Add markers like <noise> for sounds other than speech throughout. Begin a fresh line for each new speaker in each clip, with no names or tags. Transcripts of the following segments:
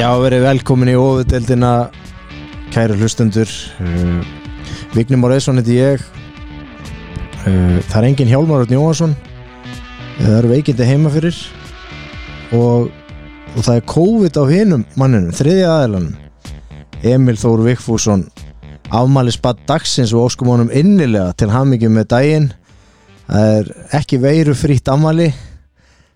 Já, verið velkomin í ofudeldina kæru hlustendur uh, Vignum Moreðsson heiti ég uh, Það er engin Hjálmar Örn Jóhansson Það eru veikindi heima fyrir og, og það er COVID á hinum manninum, þriðja aðelanum Emil Þór Vikfússon afmæli spatt dagsins og óskum honum innilega til hamingjum með daginn Það er ekki veiru frýtt afmæli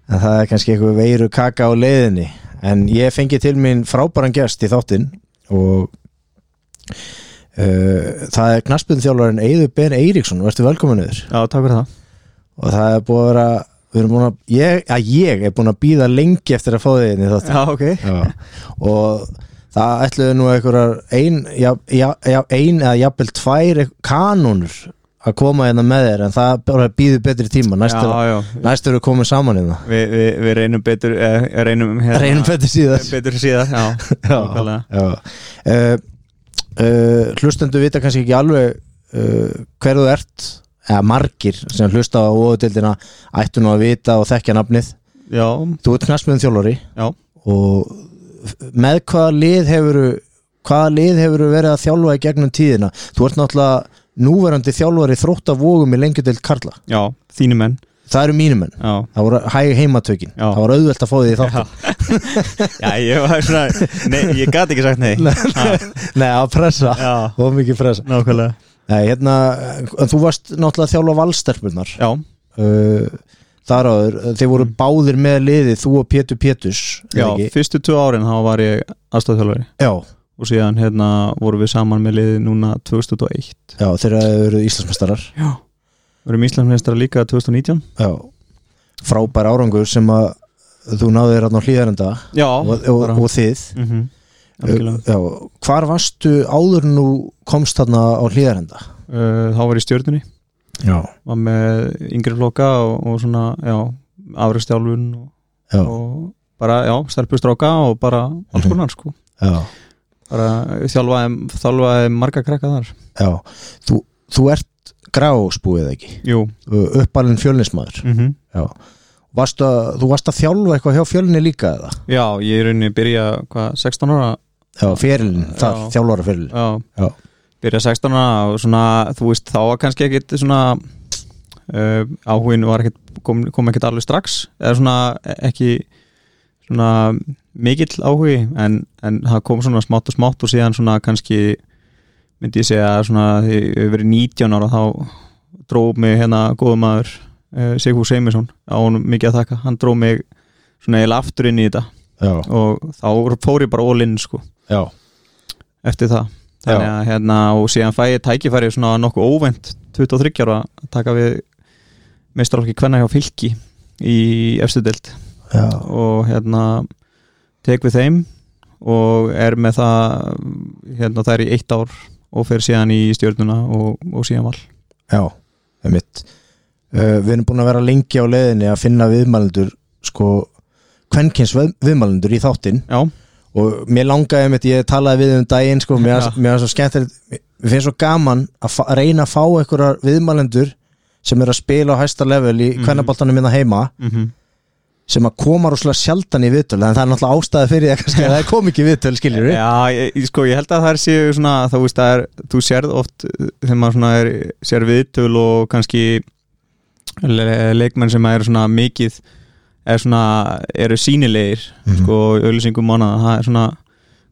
en það er kannski eitthvað veiru kaka á leiðinni en ég fengi til mín frábæran gest í þáttinn og uh, það er knaspunþjálfarinn Eidur Ben Eiríksson og ertu velkominuður
Já, takk fyrir það
og það er búið að vera við erum búin að, ég, að ég er búin að býða lengi eftir að fá þig inn í þáttinn
Já, ok
<laughs> og það ætluðu nú einhverjar ein, já, já, já, ein eða jafnvel tvær kanónur að koma hérna með þér en það bara býður betri tíma næst
Já,
er-
já,
næst eru komin saman hérna
við vi, vi reynum betur eh, <laughs> reynum, hérna,
reynum betri síðar
betur síðar Já, nákvæmlega.
já. Uh, uh, hlustendu vita kannski ekki alveg uh, hverðu ert eða margir sem hlusta á óðutildina ættu nú að vita og þekkja nafnið
já,
þú ert knastmiðum þjólari
já
og með hvaða lið hefuru hvaða lið hefuru verið að þjálfa í gegnum tíðina þú ert náttúrulega núverandi þjálfari þrótt af vógum í lengjudild Karla
Já, þínu menn
það eru mínumenn,
Já,
það voru hæg heimatökin
Já.
það var auðvelt að fá því þátt
já ég var svona Nei, ég gat ekki sagt nei Ha,
nei, að pressa,
Já,
og mikið pressa
nákvæmlega
Nei, hérna, eh, þú varst náttúrulega að þjálfa valsterpunar
Já,
uh, þar áður, eh, þið voru báðir með liði, þú og Pétur Péturs er
Mm. já
ekki?
fyrstu tvö árin þá var ég aðstofþjálfari
já,
og síðan hérna vorum við saman með liðið núna 2001
já þeir eru Íslandsmestarar
Já Við erum Íslandsmeistara líka 2019
já, frábær árangur sem að þú náðir hérna á hlýðarenda
Já,
og, og,
bara-
og þið
Mhm,
uh,
algjörlega.
já, hvar varstu áður en þú komst þarna á hlýðarenda
Uh, Þá var ég í stjörnunni
já,
var með yngri flokka og, og svona, já, afrækstjálfun og,
já,
og bara, já, stelpur stráka og bara alls konar, sko
já,
bara þjálfaði, þjálfaði marga krakka þar
já. Þú, þú ert gráspúið ekki
Jú,
uh, uppalinn fjölnismæður
mm
varst að, þú varst að þjálfa eitthvað hjá fjölni líka eða?
já, ég er rauninni að byrja hvað, 16 ára
Já, fyrirlin, þar,
Já.
þjálfara fyrirlin
já,
Já.
byrja 16 ára og svona, þú veist, þá var kannski ekkit svona uh, áhugin var ekkit, kom, kom ekkit alveg strax eða svona e, ekki svona mikill áhugi en, en það kom svona smátt og smátt og síðan svona kannski myndi ég segja svona því ég hef verið 19 ára þá dróð mig hérna góðum maður uh, Sigfús Seymisson á honum mikið að taka hann dróð mig svona eiginlega aftur inn í þetta
Já,
og þá fór ég bara all in sko
já,
eftir það þannig að hérna og síðan fæ ég tækifæri svona nokkuð óvend 23 ára að taka við mestralki kvenna hjá fylki í efstu deild
já,
og hérna tek við þeim og er með það hérna það er í eitt ár og fer síðan í stjórnuna og, og síðan val
já Það er mitt uh, Við erum búin að vera lengi á leiðinni að finna viðmælendur sko, kvenkins viðmælendur í þáttinn
já,
og mér langaði mitt, ég talaði við um daginn sko, mér
Já.
var- mér var svo skemmtilegt við finnst svo gaman að fa- að reyna að fá einhverjar viðmælendur sem er að spila á hæsta level í
Mhm.
kvennaboltanum minna heima
mm
sem að koma rúslega sjaldan í viðtöl en það er náttúrulega ástæði fyrir því að <laughs> kannski að það kom ekki í viðtöl skiljur við
Já, ég, ég- sko, ég held að það er séu svona, þá veist það er, þú sérð oft uh, þegar maður svona er, sér viðtöl og kannski le- leikmenn sem er svona mikið er svona, eru sínilegir sko, í auðlýsingum mánada það er svona,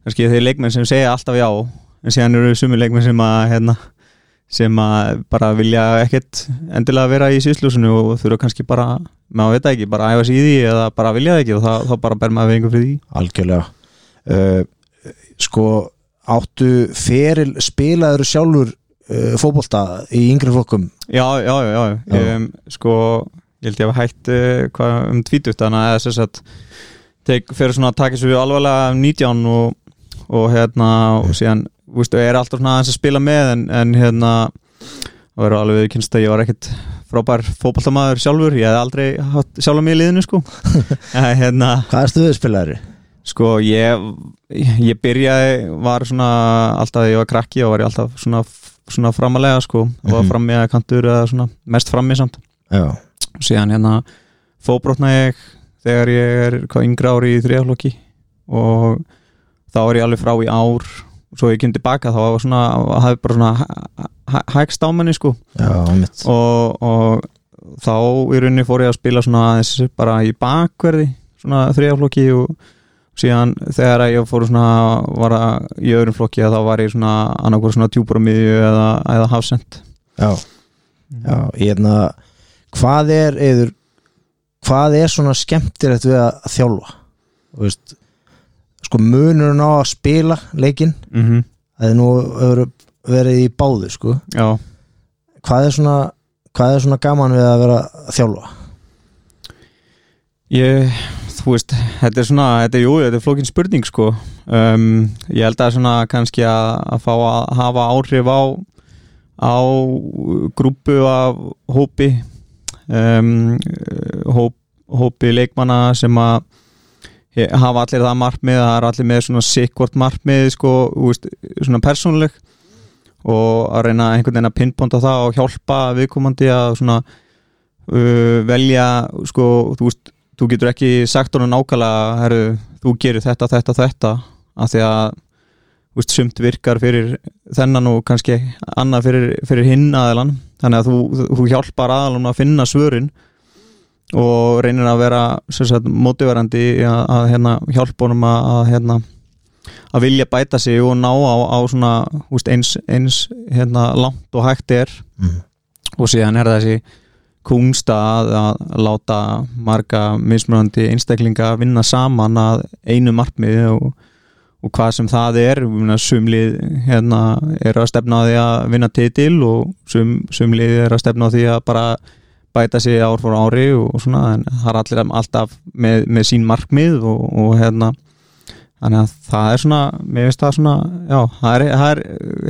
kannski þeir leikmenn sem segja alltaf já, en síðan eru sumi leikmenn sem að, hérna sem að bara vilja ekkert endilega vera í síðslúsinu og þurfa kannski bara, maður veit það ekki, bara að æfa sig í því eða bara vilja það ekki og það, þá bara ber maður við einhver fyrir því
algjörlega uh, sko áttu feril spilaður sjálfur uh, fótbolta í yngri flokkum
Já, já, já, já.
Já.
Um, sko, ég held ég hafa hætt uh, hvað, um tvítugt, þannig að þess að tek, fyrir svona að taka svo alvarlega um 19 og, og hérna, og síðan, veistu, ég er alltaf svona aðeins að spila með, en, en hérna og eru alveg kynst að ég var ekkert frábær fótballtamaður sjálfur, ég hef aldrei hatt sjálfum mig í liðinu, sko en, hérna,
hvað erstu við spilaður?
sko, ég ég byrjaði, var svona alltaf, þegar ég var krakki og var ég alltaf svona, svona framalega, sko, og var
Mhm.
frammi eða kantur eða svona, mest frammi samt
já,
og síðan hérna fóbrotna ég þegar ég er hvað yngra ári í þriðaflokki og þá var ég alveg frá í ár svo ég kemur tilbaka þá var svona hafði bara svona hæ- hæ- hægst á manni sko
já, mitt
og, og þá í rauninni fór ég að spila svona aðeins bara í bakverði svona þriðaflokki og síðan þegar að ég fór svona var að í öðrum flokki að þá var ég svona annarkvör svona djúpar á miðju eða, eða hafsend
já, já, ég hefna hvað er eður hvað er svona skemmtilegt við að þjálfa þú veist sko munurinn á að spila leikinn
mm -hmm.
að þið nú hefur verið í báðu sko
Já,
hvað er svona hvað er svona gaman við að vera að þjálfa
ég, þú veist þetta er svona, þetta er jú, þetta er flókin spurning sko um, ég held að svona kannski að, að fá að hafa áhrif á á grúpu af hópi um, eh, hóp, hópi leikmanna sem að he- hafa allir það markmið, það er allir með svona sikkvort markmið, sko, þú veist, svona persónuleg og að reyna einhvern veginn að pinnbonda það og hjálpa viðkomandi að svona uh, velja, sko, þú veist þú getur ekki sagt honum nákvæmlega herru, þú gerir þetta, þetta, þetta af því að þú veist, sumt virkar fyrir þennan og kannski annað fyrir, fyrir hinn aðelan þannig að þú, þú hjálpar aðalann að finna svörin og reynir að vera sem sagt, mótiverandi í að, að hérna, hjálpa honum að, að, hérna, að vilja bæta sig og ná á, á svona, þú veist, eins, eins hérna, langt og hægt er
mm.
og síðan er þessi kungsta að, að láta marga mismunandi einstaklinga vinna saman að einu markmiði og, og hvað sem það er ég meina, sumlið hérna, er að stefna á því að vinna titil og sum, sumlið er að stefna á því að bara bæta sig ár fór ári og svona en það er allir alltaf með, með sín markmið og, og hérna þannig að það er svona, mér finnst það svona já, það er, það er,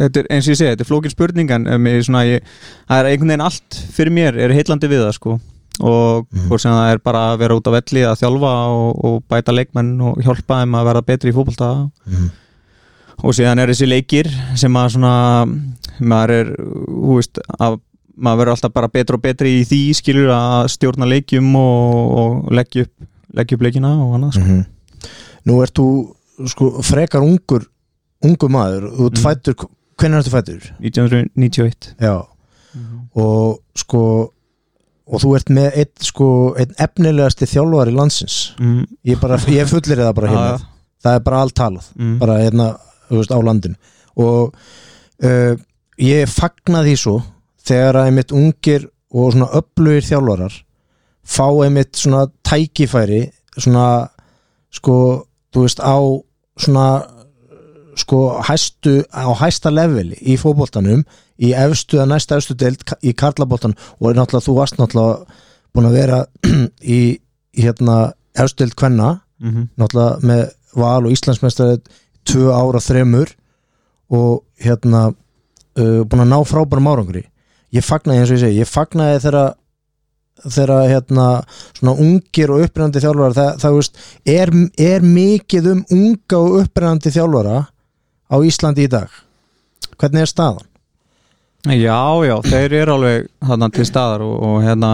þetta er eins og ég segi, þetta er flókin spurning en mér er svona, ég, það er einhvern veginn allt fyrir mér er heillandi við það sko og
Mhm.
hvort sem það er bara að vera út á velli að þjálfa og, og bæta leikmenn og hjálpa þeim að verða betri í fótbolta
Mm.
og síðan er þessi leikir sem að svona maður er, hú veist að maður verður alltaf bara betri og betri í því skilur að stjórna leikjum og, og leggja upp, leggja upp leikina og annað sko.
Mhm. Nú ert þú sko, frekar ungur ungur maður, þú ert
Mhm.
fættur hvernig ertu fættur?
1991
Já, og sko og þú ert með einn sko, einn efnilegasti þjálfari landsins
mm,
ég, bara, ég fullir það bara hérna
að-
það er bara allt talað,
mm,
bara hérna þú veist, á landin og uh, ég fagna því svo þegar að einmitt ungir og svona öflugir þjálfarar fá einmitt svona tækifæri svona sko, þú veist, á svona sko hæstu, á hæsta leveli í fótboltanum, í efstu að næsta efstu deild ka- í karlaboltan og er náttúrulega, þú varst náttúrulega búin að vera <clears throat> í í hérna efstu deild kvenna
mhm,
náttúrulega með val og Íslandsmeistari tvö ára þremur og hérna uh, búin að ná frábærum árangri ég fagnaði eins og ég segi, ég fagnaði þegar þegar hérna svona ungir og upprennandi þjálfara það, það veist, er, er mikið um unga og upprennandi þjálfara á Íslandi í dag hvernig er staðan?
Já, já, þeir eru alveg þarna til staðar og, og hérna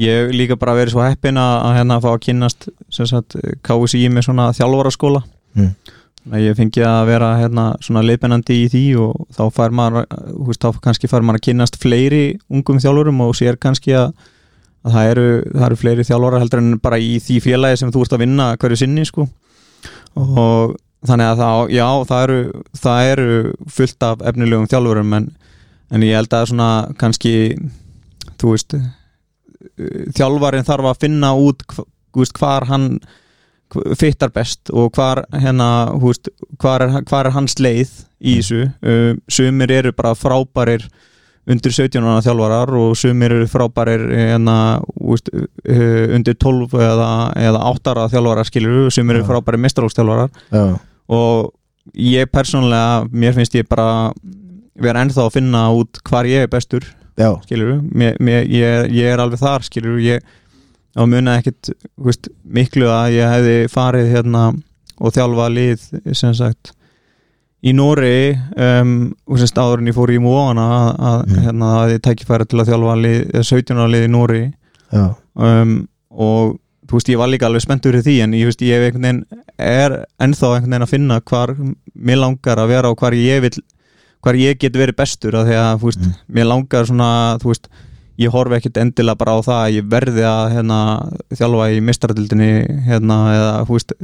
ég hef líka bara verið svo heppin að, að hérna fá að kynnast sem sagt KSI með svona þjálfaraskóla
Mm.
Þannig að ég fengi að vera hérna svona leifinandi í því og þá fær maður, þú veist, þá kannski fær maður að kynnast fleiri ungum þjálfurum og sér kannski að, að það, eru, það eru fleiri þjálfarar heldur en bara í því félagi sem þú ert að vinna hverju sinni sko og þannig að þá, já, það eru, það eru fullt af efnilegum þjálfurum en, en ég held að svona kannski þú veist uh, þjálfarin þarf að finna út hv- þú veist, hvar hann hv- fittar best og hvar hérna, þú veist, hvar er, hvar er hans leið í þessu uh, sumir eru bara frábærir undir 17 ára þjálfarar og sumir eru frábærir hérna, þú veist, uh, undir 12 eða, eða 8 ára þjálfarar skilur sumir eru
Já.
frábærir mestarálstjálfarar
Já,
og ég persónlega mér finnst ég bara vera ennþá að finna út hvar ég er bestur
já,
skilur mér, mér, ég, ég er alveg þar skilur ég á munið ekkit þú veist, miklu að ég hefði farið hérna og þjálfa lið sem sagt í Nóri um, og sem stáður en ég fór í móana að, að
Mm.
hérna að ég tækifæra til að þjálfa lið, 17 ára lið í Nóri
já,
um, og þú veist, ég var líka alveg spenntur í því en ég veist, ég hef einhvern veginn er ennþá einhvern veginn að finna hvar mér langar að vera og hvar ég vil hvar ég get verið bestur af því að, þú veist, mér langar svona, þú veist ég horfi ekkert endilega bara á það að ég verði að hérna, þjálfa í mistradildinni hérna, eða, þú veist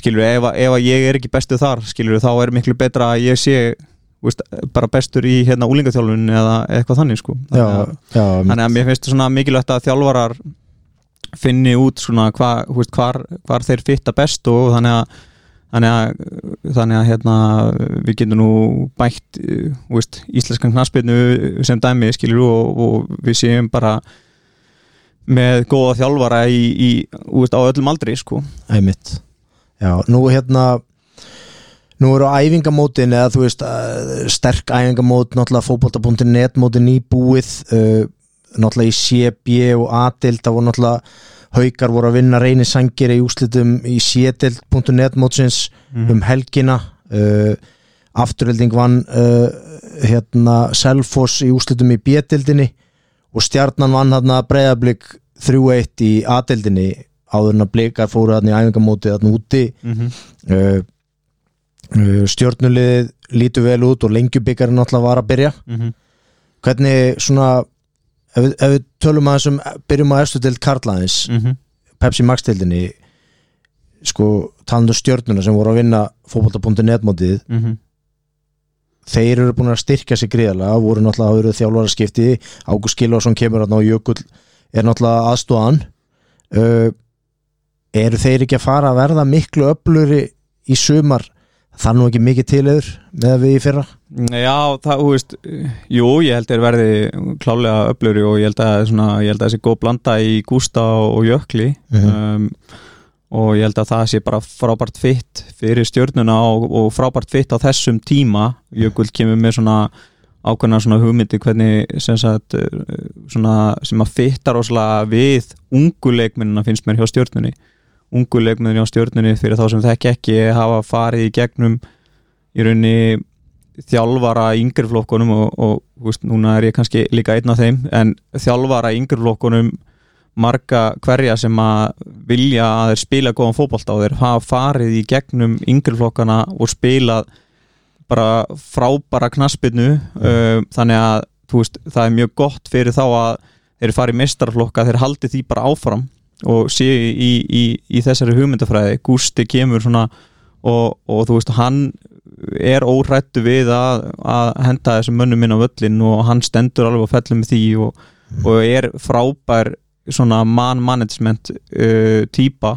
skilur, ef, að- ef að ég er ekki bestu þar skilur, þá er miklu betra að ég sé þú veist, bara bestur í hérna úlingaþjálfun eða eitthvað þannig sko
já,
Þannig að-
já,
þannig að mér finnst svona mikilvægt að þjálfarar finni út svona hva, þú veist, hvar, hvar þeir fitta best og þannig að þannig að, þannig að hérna, við getum nú bætt eh, þú veist, íslenskan knarsbyrnu sem dæmi skilur og, og við séum bara með góða þjálfara í, í, þú veist, á öllum aldri sko.
Æmitt Já, nú hérna Nú eru æfingamótin eða þú veist eh, sterk æfingamót, náttúrulega fótbolta.net mótin í búið eh, náttúrulega í CB og A-dild það voru náttúrulega haukar voru að vinna reyni sangir í úslitum í C-dild.net mótsins um helgina uh, afturölding vann uh, hérna Selfoss í úslitum í B-dildinni og stjarnan vann hérna breyðablík 3-1 í A-dildinni áður en að blikar fóru hérna í æfingamótið hérna úti
-hmm.
uh, uh, stjörnuliðið lítur vel út og lengjubikarinn náttúrulega var að byrja
Mm -hmm.
hvernig svona ef, við- ef við tölum aðeins um byrjum á efstu dild Karlaðins
Mm -hmm.
Pepsi Max-dildinni sko talandu stjörnuna sem voru að vinna fótbolta.net mótið
Mm -hmm.
þeir eru búin að styrkja sig gríðarlega voru náttúrulega að vera þjálfaraskipti Ágúst Gilvarsson kemur hann og Jökull er náttúrulega aðstóðan uh, eru þeir ekki að fara að verða miklu öfluri í sumar það er nú ekki mikið tilöður með að við í fyrra
Já, það, þú veist, jú, ég held þeir verði klálega öfluri og ég held að, svona, ég held að þessi góð blanda í Gústa og Jökli
Mm.
um, og ég held að það sé bara frábært fitt fyrir stjörnuna og, og frábært fitt á þessum tíma Jökull kemur með svona ákveðna svona hugmyndi hvernig sem, sagt, eh, svona, sem að fittar óslega við ungu leikmennina finnst mér hjá stjörnunni ungu leikmennin hjá stjörnunni fyrir þá sem þekki ekki hafa farið í gegnum í raunni þjálfara í yngri flokkunum og, og þú veist, núna er ég kannski líka einn af þeim en þjálfara í yngri flokkunum marga hverja sem að vilja að þeir spila góðan fótbolta og þeir hafa farið í gegnum yngri flokkana og spilað bara frábara knaspinu um, þannig að þú veist, það er mjög gott fyrir þá að þeir fari mestarflokka, þeir haldi því bara áfram og séu í, í, í þessari hugmyndafræði, Gústi kemur svona og, og þú veist, hann er órættu við að, að henda þessum mönnum inn á völlin og hann stendur alveg á fellum með því og, og er frábær svona man management uh, típa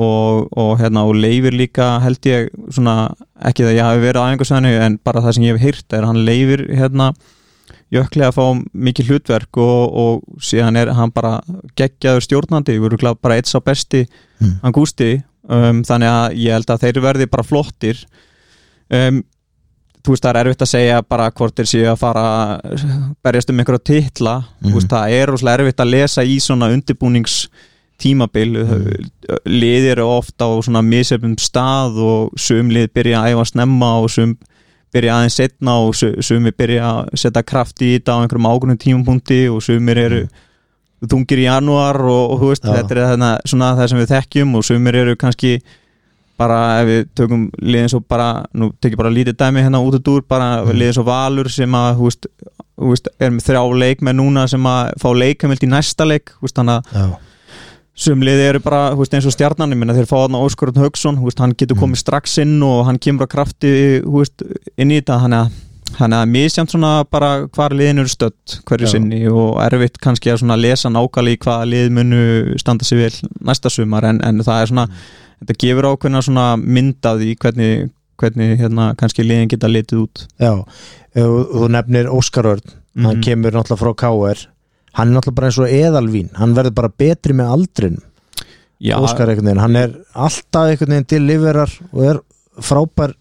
og, og, hérna, og leifir líka held ég svona, ekki það ég hafi verið á einhversvæðinu en bara það sem ég hef heyrt er að hann leifir hérna jökli að fá mikið hlutverk og, og síðan er hann bara geggjaður stjórnandi, við erum bara eitt sá besti
Mm.
hann gústi um, þannig að ég held að þeir verði bara flottir um, þú veist það er erfitt að segja bara hvort þeir séu að fara berjast um einhverja titla
Mhm.
þú veist það er rosalega erfitt að lesa í svona undirbúnings tímabil
Mhm.
liðir eru oft á svona misjöfnum stað og sum lið byrja að æfa snemma og sum byrja aðeins setna og su- sumir byrja að setja kraft í þetta á einhverjum ágrunum tímapunkti og sumir eru þungir í januar og, og þú veist,
Mm. Já.
þetta er þarna, svona það sem við þekkjum og sumir eru kannski bara ef við tökum liðin svo bara, nú tekið bara lítið dæmi hérna út og dúr, bara
Mm.
liðin svo valur sem að, þú veist, þú veist er með þrjá leik með núna sem að fá leikamilt í næsta leik, þú veist, þannig að
já,
sum liði eru bara, þú veist, eins og stjarnanum minna þeir fá hann á Óskurðun Haugsson, þú veist, hann getur
Mm.
komið strax inn og hann kemur að krafti þú veist, inn í þetta, hann að hann að misjamt svona bara hvar liðin eru stödd hverju
Já.
sinni og erfitt kannski að svona lesa nákvæmlega í hvaða lið munu standa sig vel næsta sumar en, en það er svona,
Mm.
þetta gefur ákveðna svona mynd af því hvernig, hvernig hérna kannski liðin geta litið út
já. Ef Þú, þú nefnir Óskar Örn hann kemur náttúrulega frá KR hann er náttúrulega bara eins og eðalvín hann verður bara betri með aldrin
Já,
Óskar einhvern veginn, hann er alltaf einhvern veginn til liverar og er frábær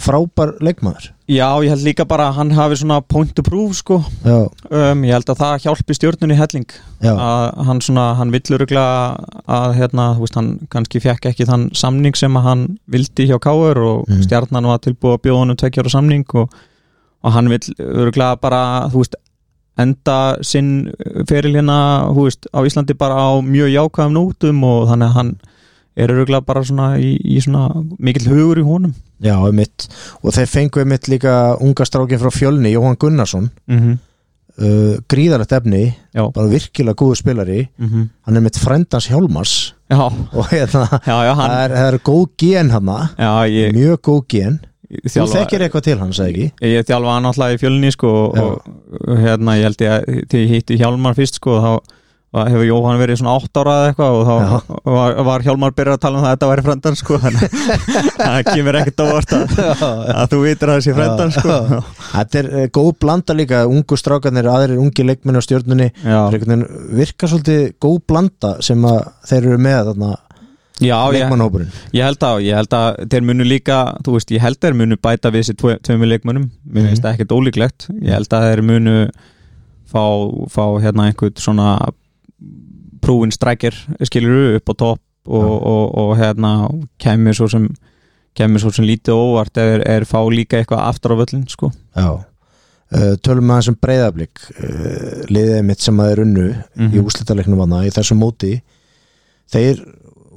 frábær leikmaður
já, ég held líka bara að hann hafi svona point to prove sko,
já,
um, ég held að það hjálpi stjórnunni helling
já,
að hann svona, hann villur að hérna, þú veist, hann kannski fekk ekki þann samning sem að hann vildi hjá Káur og
Mm.
stjarnan var tilbúið að bjóða honum tveggjára samning og, og hann vill örgulega bara, þú veist enda sinn feril hérna þú veist, á Íslandi bara á mjög jákvæðum nótum og þannig að hann er öruglega bara svona í, í svona mikill hugur í honum
Já, einmitt. og þeir fengu einmitt líka unga strákin frá fjölni, Jóhann Gunnarsson
mm -hmm.
uh, gríðarlegt efni
Já.
bara virkilega góðu spilari hann er mitt frendans Hjálmars <laughs>
Mhm. já,
og hérna,
já, já,
það
hann
er, það er góð gen hann
já, ég,
mjög góð gen
ég
þú
þjálfa-
þekkir eitthvað til hann, sagði ekki
Ég þjálfa hann alltaf í fjölni sko,
Já.
og, og hérna ég held ég að þegar ég hitti Hjálmar fyrst sko, þá þá hefur Jóhann verið svona 8 ára eða eitthvað og þá var, var Hjálmar byrjað að tala um það að þetta væri frendan sko, þannig að það kemur ekkert á vort að, að þú vitir að þessi frendan sko.
þetta er eh, góð blanda líka, ungu strákanir aðrir ungi leikmenn á stjórnunni
Já,
Það er einhvern veginn- virkar svolítið góð blanda sem að þeir eru með þarna
já ég,
leikmannhópurinn
ég held að ég held að þeir munu líka, þú veist, ég held að þeir munu bæta við þessi tve- tveimur leikmönnum mér finnst það ekkert ólíklegt, ég held að þeir munu fá, fá hérna einhvern svona prúin strækir, skilur upp á topp og, og, og, hérna kemur svo sem kemur svo sem lítið óvart eða er, er fá líka eitthvað aftur á völlin, sko
Já Uh, tölum við aðeins um breyðablík uh, liðið mitt sem að er unnu
Mhm.
í úslitaleiknum hana, í þessu móti þeir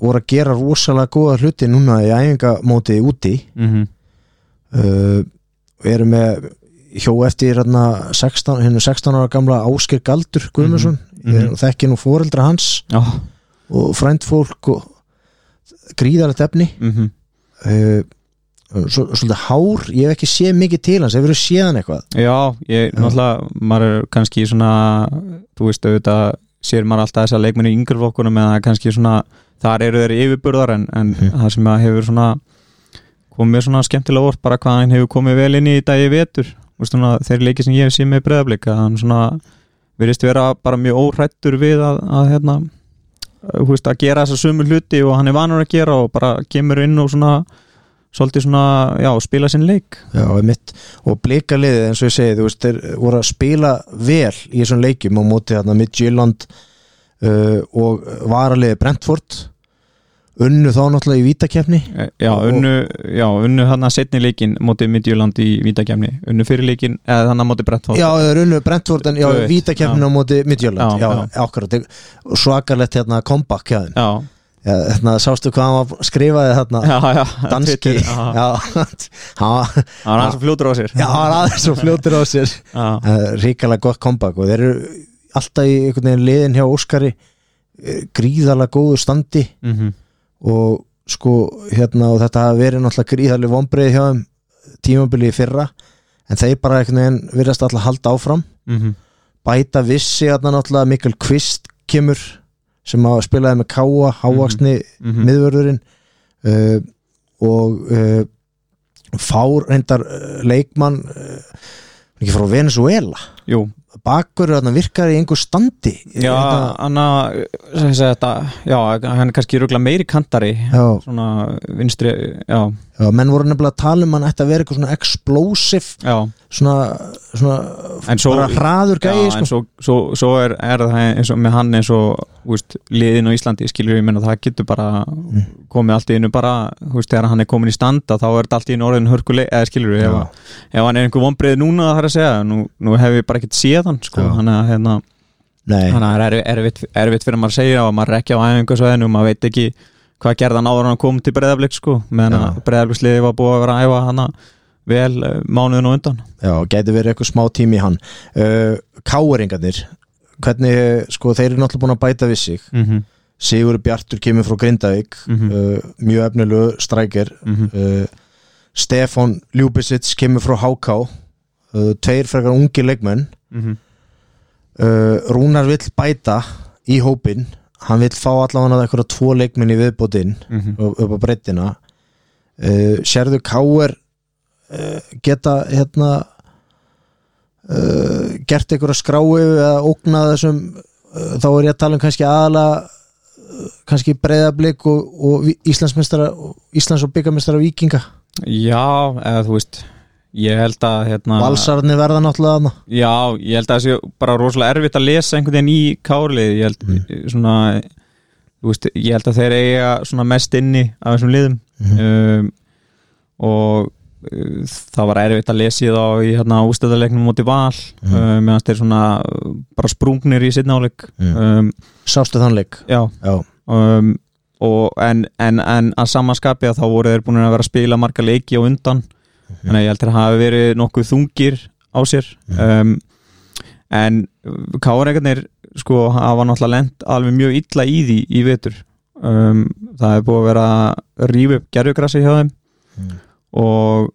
voru að gera rosalega góða hluti núna í æfingamóti úti
mm -hmm.
uh, og eru með hjó eftir hérna 16, hérna 16 ára gamla Ásker Galdur Guðmundsson mm
Mhm.
og þekki nú fóreldra hans
Já,
og frændfólk og gríðarlegt efni
mm
uh, svo, svolítið hár ég hef ekki séð mikið til hans, hefur þú séð hann eitthvað
Já, ég,
Já.
náttúrulega, maður er kannski svona, þú veist auðvitað sér maður alltaf þess að leikmennu yngur flokkunum eða kannski svona, þar eru þeir yfirburðar en, en
Mhm.
það sem að hefur svona komið svona skemmtilega orð bara hvað hann hefur komið vel inn í í dag í vetur Þú veist, svona, þeir leikið sem ég hef séð með breðablik að hann svona virðist vera bara mjög óhrættur við að, að hérna þú veist, að gera þessa sömu hluti og hann er vanur að gera og bara kemur inn og svona svolítið svona, já, spila sinn leik
Já, einmitt. og blikaliðið eins og ég segi þú veist, þeir voru að spila vel í þessum leikjum á móti þarna Midtjylland uh, og varaliðið Brentford unnu þá náttúrulega í vítakefni
Eh, Já,
Og-
unnu, já, unnu hann að setni leikin mótið Midtjöland í Vítakefni unnu fyrir leikin, eða hann að mótið Brentford
Já, þeir unnu Brentford en já,
Tvö eitt,
vítakefni á móti Midtjylland
Já,
Já, já. akkurat og svakarlegt hérna comeback hjá þeim
já,
já, hérna, Sástu hvað hann var, skrifaði þarna
já, já
Danski
Twitter, já,
Já, <laughs> hann
hann er hans og fljótur á sér
já, hann var aðeins og fljótur á sér
já,
uh, ríkalega gott comeback og þeir eru alltaf í einhvern veginn liðin hjá Óskari eh, gríðalega góðu standi
mhm,
og sko hérna og þetta hafi verið náttúrulega gríðalega vonbreið hjá þeim tímabili í fyrra en þeir bara einhvern veginn virðast alltaf halda áfram
mhm,
bæta vissi hérna náttúrulega Mikkel Kvist kemur sem að spilaði með Káa hávaksni
mhm
miðvörðurinn uh, og uh, fár reyndar uh, leikmann uh, ekki frá Venezuela
Jú,
bakur þarna virkar í einhver standi
já,
Þetta-
hann að sem segja þetta, já, hann er kannski rúglega meiri kantari,
já,
svona vinstri, já,
já, menn voru nefnilega að tala um hann ætti að vera eitthvað svona explosive
já
svona, svona
En svo-
bara hraður gæi
Já,
sko.
en svo, svo, svo er, er það eins og með hann eins og þú veist, liðin á Íslandi skilur ég menna það getur bara
Mm.
komið allt í einu bara, þú veist, þegar hann er komin í standa þá er þetta allt í einu orðin hörkuleg eða skilur
Já.
ég, ef, að- ef hann er einhver vonbreið núna það er að segja, nú, nú hef ég bara ekkert séð hann sko,
Já.
hann er hérna
Nei,
þannig að það er erfitt, erfitt, erfitt fyrir maður að segja og maður er ekki á æfingasvæðinu og maður veit ekki hvað gerði hann áður en hann kom til breyðablík sko, meðan
Já.
að breyðablíksliði var búið að vera að æfa hana vel eh, mánuðin og undan
já, gæti verið eitthvað smá tími í hann uh, Káeringarnir hvernig, sko, þeir eru náttúrulega búin að bæta við sig
mm -hmm.
Sigur Bjartur kemur frá Grindavík
Mhm.
uh, mjög efnilegu strækir
Mm
uh, Stefan Ljúbisits kemur frá Háká uh, tveir frekar ungi leikmenn
Mhm.
uh, Rúnar vill bæta í hópin hann vill fá allavega eitthvað tvo leikmenn í viðbótinn
Mhm.
upp upp á breyttina uh, sérðu Káer uh, geta hérna uh, gert einhverja skráu eða ógnað þessum uh, þá er ég að tala um kannski aðala uh, kannski breyðablík og, og Vi- Íslandsmeistara Íslands og byggamestara vikinga
Já, eða þú veist ég held að
Ah.
hérna,
valsarni verða náttúrulega þarna
Já, ég held að það sé bara rosalega erfitt að lesa einhvern veginn í kárlið ég held svona þú veist, ég held að þeir eiga svona mest inni af þessum liðum um, og uh, það var erfitt að lesa í þá í hérna ústæðarleiknum móti val mm.
Mhm.
uh, meðan þeir svona uh, bara sprungnir í sittnáleik
Mm.
um,
sástu þannleik
já
já,
um, og en, en, en að samaskapi að þá voru þeir búin að vera að spila marga leiki á undan
Mm.
þannig að ég held að þeir hafi verið nokkuð þungir á sér um, en Káreikarnir sko hafa náttúrulega lent alveg mjög illa í því í vetur um, það hefur búið að vera að rífa upp gerjugrassi hjá þeim
Mm.
og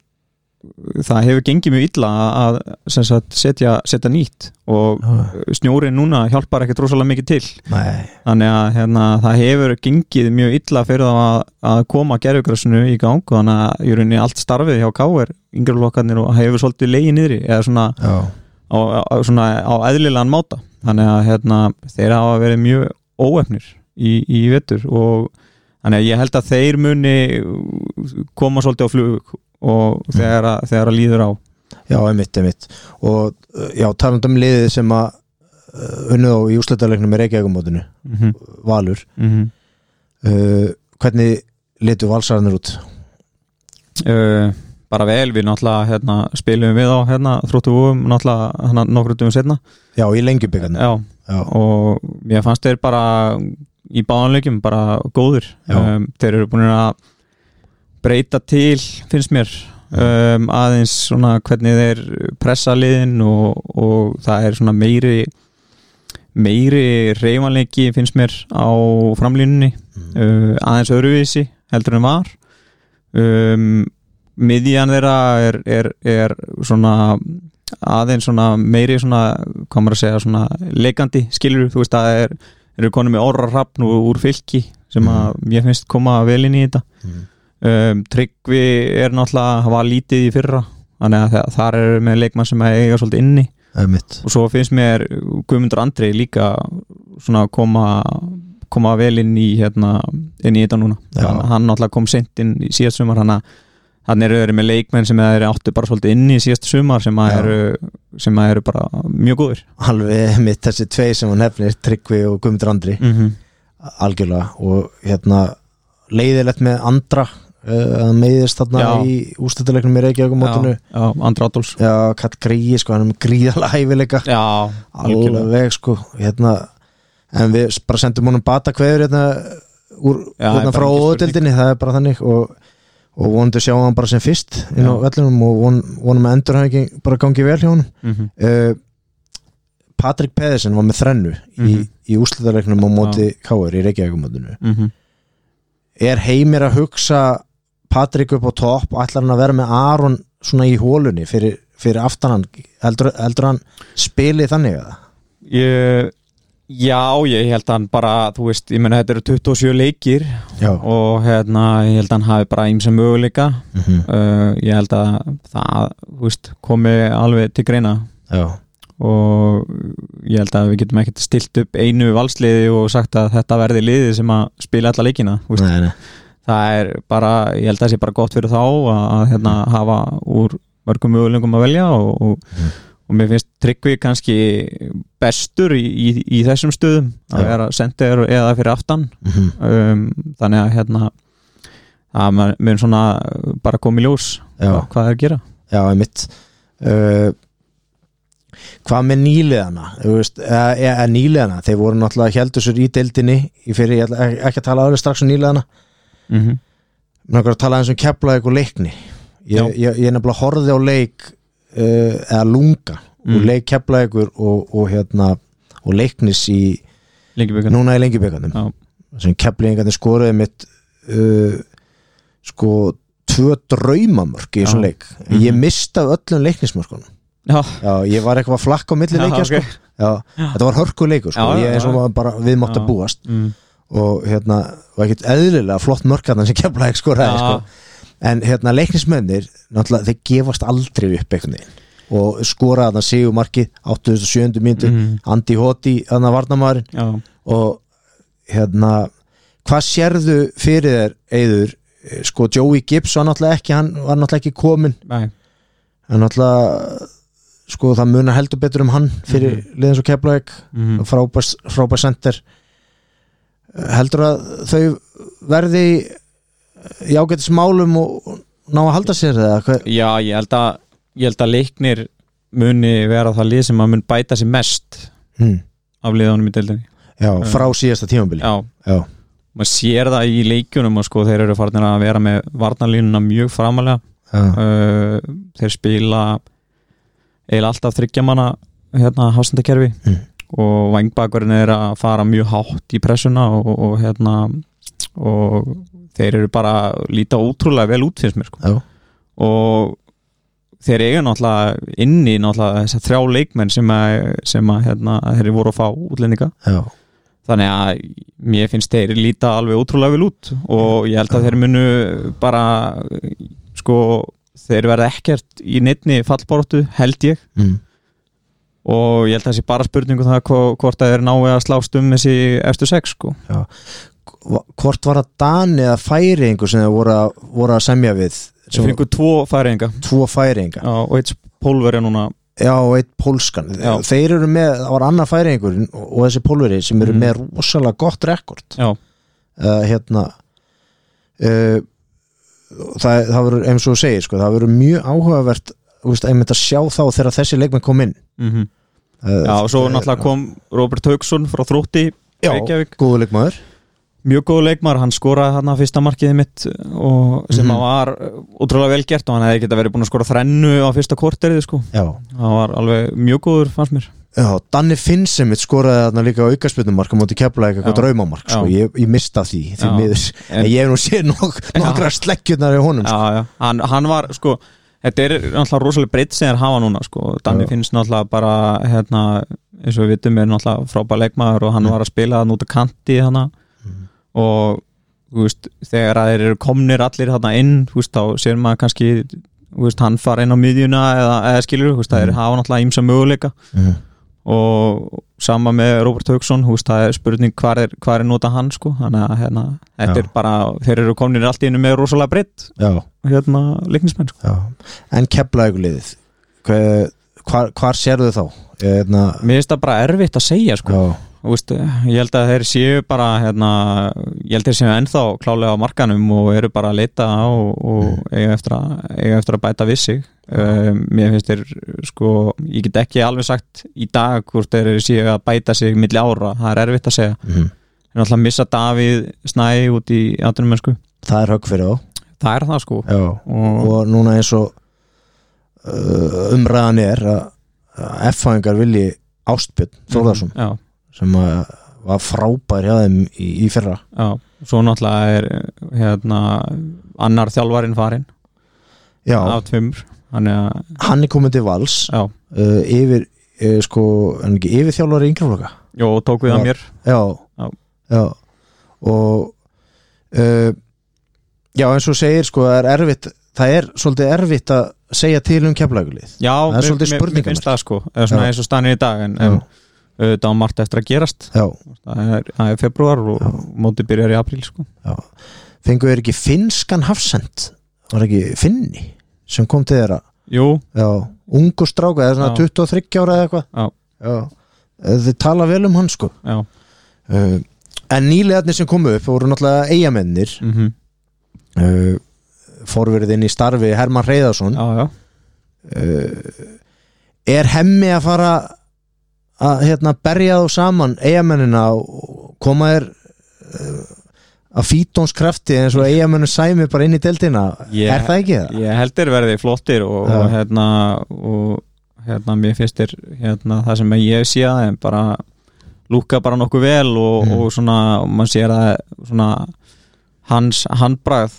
það hefur gengið mjög illa að sem sagt, setja, setja nýtt og
Já.
snjórin núna hjálpar ekki drosalega mikið til
nei
þannig að hérna, það hefur gengið mjög illa fyrir þá að, að koma gerðugrassinu í gang þannig að í rauninni allt starfið hjá K.R. yngri lokkarnir og hefur svolítið leiði niðri eða svona
já,
á, á, svona á eðlilegan máta þannig að hérna, þeir hafa verið mjög óefnir í, í vetur og þannig að ég held að þeir muni koma svolítið á flug og þegar að, þegar að líður á
já, einmitt, einmitt og uh, já, talandum um liðið sem að uh, unnið á í úsletarleiknum með Reykjavíkumótinu
mm -hmm.
Valur uh, hvernig litu valsararnir út
uh, bara vel við náttúrulega hérna, spilum við á hérna, þróttu vóum náttúrulega hérna, nokkru dugum setna
já, í lengjubikarnir
já,
já,
og ég fannst þeir bara í báðanleikum bara góður
Já.
um, þeir eru búin að breyta til finnst mér um, aðeins svona hvernig þeir pressa liðin og, og það er svona meiri meiri reymanleiki finnst mér á framlínunni
Mm,
uh, aðeins öðruvísi heldur en var um, miðjan þeirra er, er, er svona aðeins svona meiri svona, hvað maður að segja, svona leikandi skilur, þú veist að það er, eru konum með orra rafn úr, úr fylki sem að mér finnst koma vel inn í þetta
Mm.
um, Tryggvi er náttúrulega hafa lítið í fyrra þannig að það, þar eru með leikmann sem að eiga svolítið inni
einmitt
og svo finnst mér Guðmundur Andri líka svona koma koma vel inn í hérna, inn í þetta núna
Já.
hann, hann náttúrulega kom sent inn í síðast sumar hann, að- hann eru verið með leikmenn sem það eru áttu bara svolítið inn í síðast sumar sem að
Já.
eru, sem að eru bara mjög góðir
alveg einmitt þessi tvei sem hún hefnir Tryggvi og Guðmundur Andri
mm -hmm.
algjörlega og hérna leiðilegt með andra uh, að meiðist þarna
Já.
í ústættilegnum í Reykjavíkumótinu
já, já, Andri Adolfs
já, Katt Gríi sko, hann er gríðalega hæfileika
já, algjörlega
alveg sko hérna, en við s- bara sendum honum bata kveður hérna, úr,
Já, er
hérna
bara
frá
engin
óðutildinni, það er bara þannig og, og vonandi sjáum hann bara sem fyrst inn á
Já.
vellinum og von, vonum að endur ekki bara gangi vel hjá honum
mm
uh, Patrik Pedersen var með þrennu
Mhm.
í, í úslitaðleiknum á móti Káur í Reykjavíkumótinu er heimir að hugsa Patrik upp á topp ætlar hann að vera með Aron svona í hólunni fyrir, fyrir aftan hann heldur, heldur hann spilið þannig eða?
ég, já, ég held að hann bara þú veist, ég menna þetta eru 27 leikir
Já
og hérna, ég held að hann hafi bara ímsa möguleika
mm -hmm.
uh, ég held að það þú veist, komi alveg til greina
Já,
og ég held að við getum ekkert stilt upp einu valsliði og sagt að þetta verði liðið sem að spila alla leikina þú veist.
nei, nei.
það er bara, ég held að það sé bara gott fyrir þá að, að hérna, hafa úr mörgum mögulegum að velja og, og,
Mhm.
og mér finnst Tryggvi kannski bestur í, í, í þessum stöðum að
Já.
vera sendir eða fyrir aftan
Mm -hmm.
um, þannig að hérna að maður mun svona bara koma í ljós
Já,
hvað það er að gera
já, einmitt uh, Hvað með nýliðana? Þú veist, eða- eða nýliðana, þeir voru náttúrulega heldur sér í deildinni í fyrir, ég ætla ek- ekki að tala aðlega strax um nýliðana
mm -hmm.
Mér langar að tala eins og kepla eitthvað leikni Ég,
Já.
ég, ég nefnilega horfði á leik uh, eða lunga
Mm.
og leik kepla eitthvað og, og hérna og leiknis í,
Lengjubikarnir
núna í lengjubökanum
Já.
sem keplingarnir skoruði mitt uh, sko tvö draumamörk í þessum
Já. Mhm.
leik ég mista af öllum leiknismörkunum
Já,
já, ég var eitthvað flakk á milli
Já,
leikja
ok.
sko. já, þetta var hörku leikur sko.
Já, já,
ég, eins og
já.
maður bara við mátt
Já.
að búast
mm.
og hérna, var ekkert eðlilega flott mörkarnar sem kepla ekki skoraði sko.
já,
en hérna leiknismennir náttúrulega þeir gefast aldrei upp einhvern veginn og skoraði þarna sigur markið 87. myndu,
Mhm.
Andi Hoti þarna varnamæðurinn
já.
og hérna hvað sérðu fyrir þér eður sko Joey Gibbs var náttúrulega ekki hann var náttúrulega ekki komin
Nei,
en náttúrulega sko það munar heldur betur um hann fyrir mm -hmm. liðins og keflaðik
mm.
frábærs frábær center heldur að þau verði í ágætis málum og, ná að halda sér eða hvað
Já, ég held að, ég held að leiknir muni vera það lið sem að mun bæta sér mest
hm.
af liðanum í deildinni
Já, frá síðasta tímabili
Já,
Já,
maður sér það í leikjunum og sko þeir eru farin að vera með varnarlínuna mjög framalega
já,
uh, þeir spila eiginlega alltaf þryggjamanna hérna hafsendakerfi
Mm.
og vangbakurinn er að fara mjög hátt í pressuna og, og hérna og þeir eru bara að líta ótrúlega vel út finnst mér sko
já,
og þeir eiga náttúrulega inni náttúrulega þessar þrjá leikmenn sem að, sem að hérna, þeir voru að fá útlendinga
já.
þannig að mér finnst þeir líta alveg ótrúlega vel út og ég held að þeir munu bara sko þeir verða ekkert í neittni fallbortu held ég
Mm.
og ég held að það sé bara spurningu það hvo- hvort að þeir náu að slást um þessi eftir sex sko
Hvort var það Dani eða færingu sem þau voru, að- voru að semja við
þeir
sem,
fengur tvo færinga
Tvo færinga
og eitt pólverja núna
Já, og eitt pólskan
Já.
Þeir eru með, það var annar færingur og, og þessi pólveri sem eru
Mm.
með rosalega gott rekord
já,
uh, hérna uh, það, það verður eins og þú segir sko, það verður mjög áhugavert þú veist, einmitt að sjá þá þegar þessi leikmenn kom inn
mm
uh,
já og svo náttúrulega kom Robert Haugsson frá Þrótti
já,
Reykjavík.
góðu leikmaður
mjög góð leikmar, hann skoraði hann að fyrsta markiði mitt og sem mm
Mhm.
var útrúlega vel gert og hann hefði geta verið búin að skora þrennu á fyrsta korterið sko,
já,
hann var alveg mjög góður fannst mér,
já Danni Finnsemit skoraði þarna líka aukaspilnumark á móti keflaði eitthvað
Já.
draumamark sko.
Já.
ég, ég mista því, því
Já.
miður
En-
en ég hef nú séð nok, nokkra slekkjurnar í honum sko.
já, já. Hann, hann var sko, þetta er náttúrulega rosalega breytt sem þeir hafa núna sko, Danni
Já.
finnst náttúrulega bara hérna, eins og við vitum er náttúrulega frábær leikmaður og hann var að spila hann út á kanti hana og þú veist, þegar að þeir eru komnir allir þarna inn, þú veist, þá sér maður kannski þú veist, hann fara inn á miðjuna eða, eða skilur, þú veist, það er hafa náttúrulega ímsa möguleika
Mhm.
og sama með Robert Hauksson þú veist, það er spurning hvar er, hvar er nota hann sko, þannig að hérna, þetta
Já.
er bara þeir eru komnir allt í einu með rosalega breytt
já,
hérna, leiknismenn sko.
já en keflaði liðið Hve- hvar, hvar sérðu þá? Eðna,
mér finnst það bara erfitt að segja sko.
já,
Þú veist, ég held að þeir séu bara hérna, ég held að þeir séu ennþá klálega á markanum og eru bara að leita og, og eiga, eftir að, eiga eftir að bæta við sig um, mér finnst þeir sko, ég get ekki alveg sagt í dag hvort þeir séu að bæta sig milli ára, það er erfitt að segja
mhm.
en alltaf missa Davíð Snæ út í atvinnumennsku
það er högg fyrir þá
það er það sko
já.
og,
og núna eins og uh, umræðan er að að F-fæðingar vilji Ástbjörn Þórðarsson
já,
sem að var frábær hjá þeim í, í fyrra
já, svo náttúrulega er hérna, annar þjálfarinn farinn
já,
af tveimur hann er að,
hann er komin til vals
já,
uh, yfir, uh, sko en ekki yfir þjálfari yngrefloka
jó, tók við
Já.
að mér
já,
Já.
já og uh, já eins og þú segir sko það er erfitt það er svolítið erfitt að segja til um keflagulið
já,
Það er svolítið
mér
spurningamerki.
finnst það sko eða svona
Já.
eins og stannir í dag en,
Já.
en auðvitað á margt eftir að gerast
já,
það er, það er februar og
Já.
mótið byrjar í apríl sko
já fengu þeir ekki finnskan hafsend var ekki finni sem kom til þeirra
jú,
já, ungu stráka eða svona
Já.
23 ára eða eitthvað
Já.
Já. Eh, þið tala vel um hann sko
já,
uh, en nýlegarnir sem komu upp voru náttúrulega eigamennir
mm
uh, forverðin í starfi Herman Reyðarsson
já, já
uh, er hemmi að fara að hérna, berja þú saman eigamennina og koma þér uh, að fítons krafti eins og eigamennin sæmi bara inn í deildina
Ég-
er það ekki það?
Ég heldur verði flottir og,
Já.
og hérna og hérna mér finnst þér hérna það sem ég sé að þeim bara lúka bara nokkuð vel og,
Mm.
og svona og mann sér að svona hans handbragð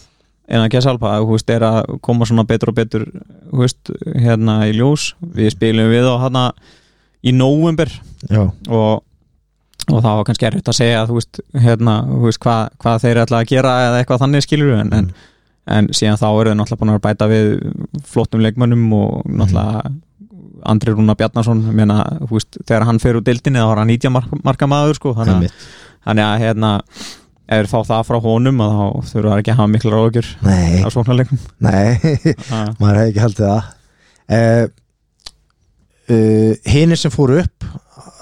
innan Gessalpa, þú veist, er að koma svona betur og betur, þú veist, hérna í ljós, við spilum við á hana í november
Já,
og, og það var kannski erfitt að segja þú veist, hérna, þú veist hvað, hvað þeir ætla að gera eða eitthvað þannig skilur en, en,
Mm.
en síðan þá eru þeir náttúrulega búin að bæta við flottum leikmönnum og náttúrulega
Mm.
Andri Rúna Bjarnason ég meina, þú veist, þegar hann fer úr dildinni þá var hann 90 mark, marka maður sko,
það er
þannig,
mitt
að- þannig að hérna, ef þeir fá það frá honum að þá þurfa þeir ekki að hafa mikla ráðugjur
Nei,
á svoknarleikum
nei <laughs> maður hefði ekki haldið það uh, uh, hinir Eh, sem fóru upp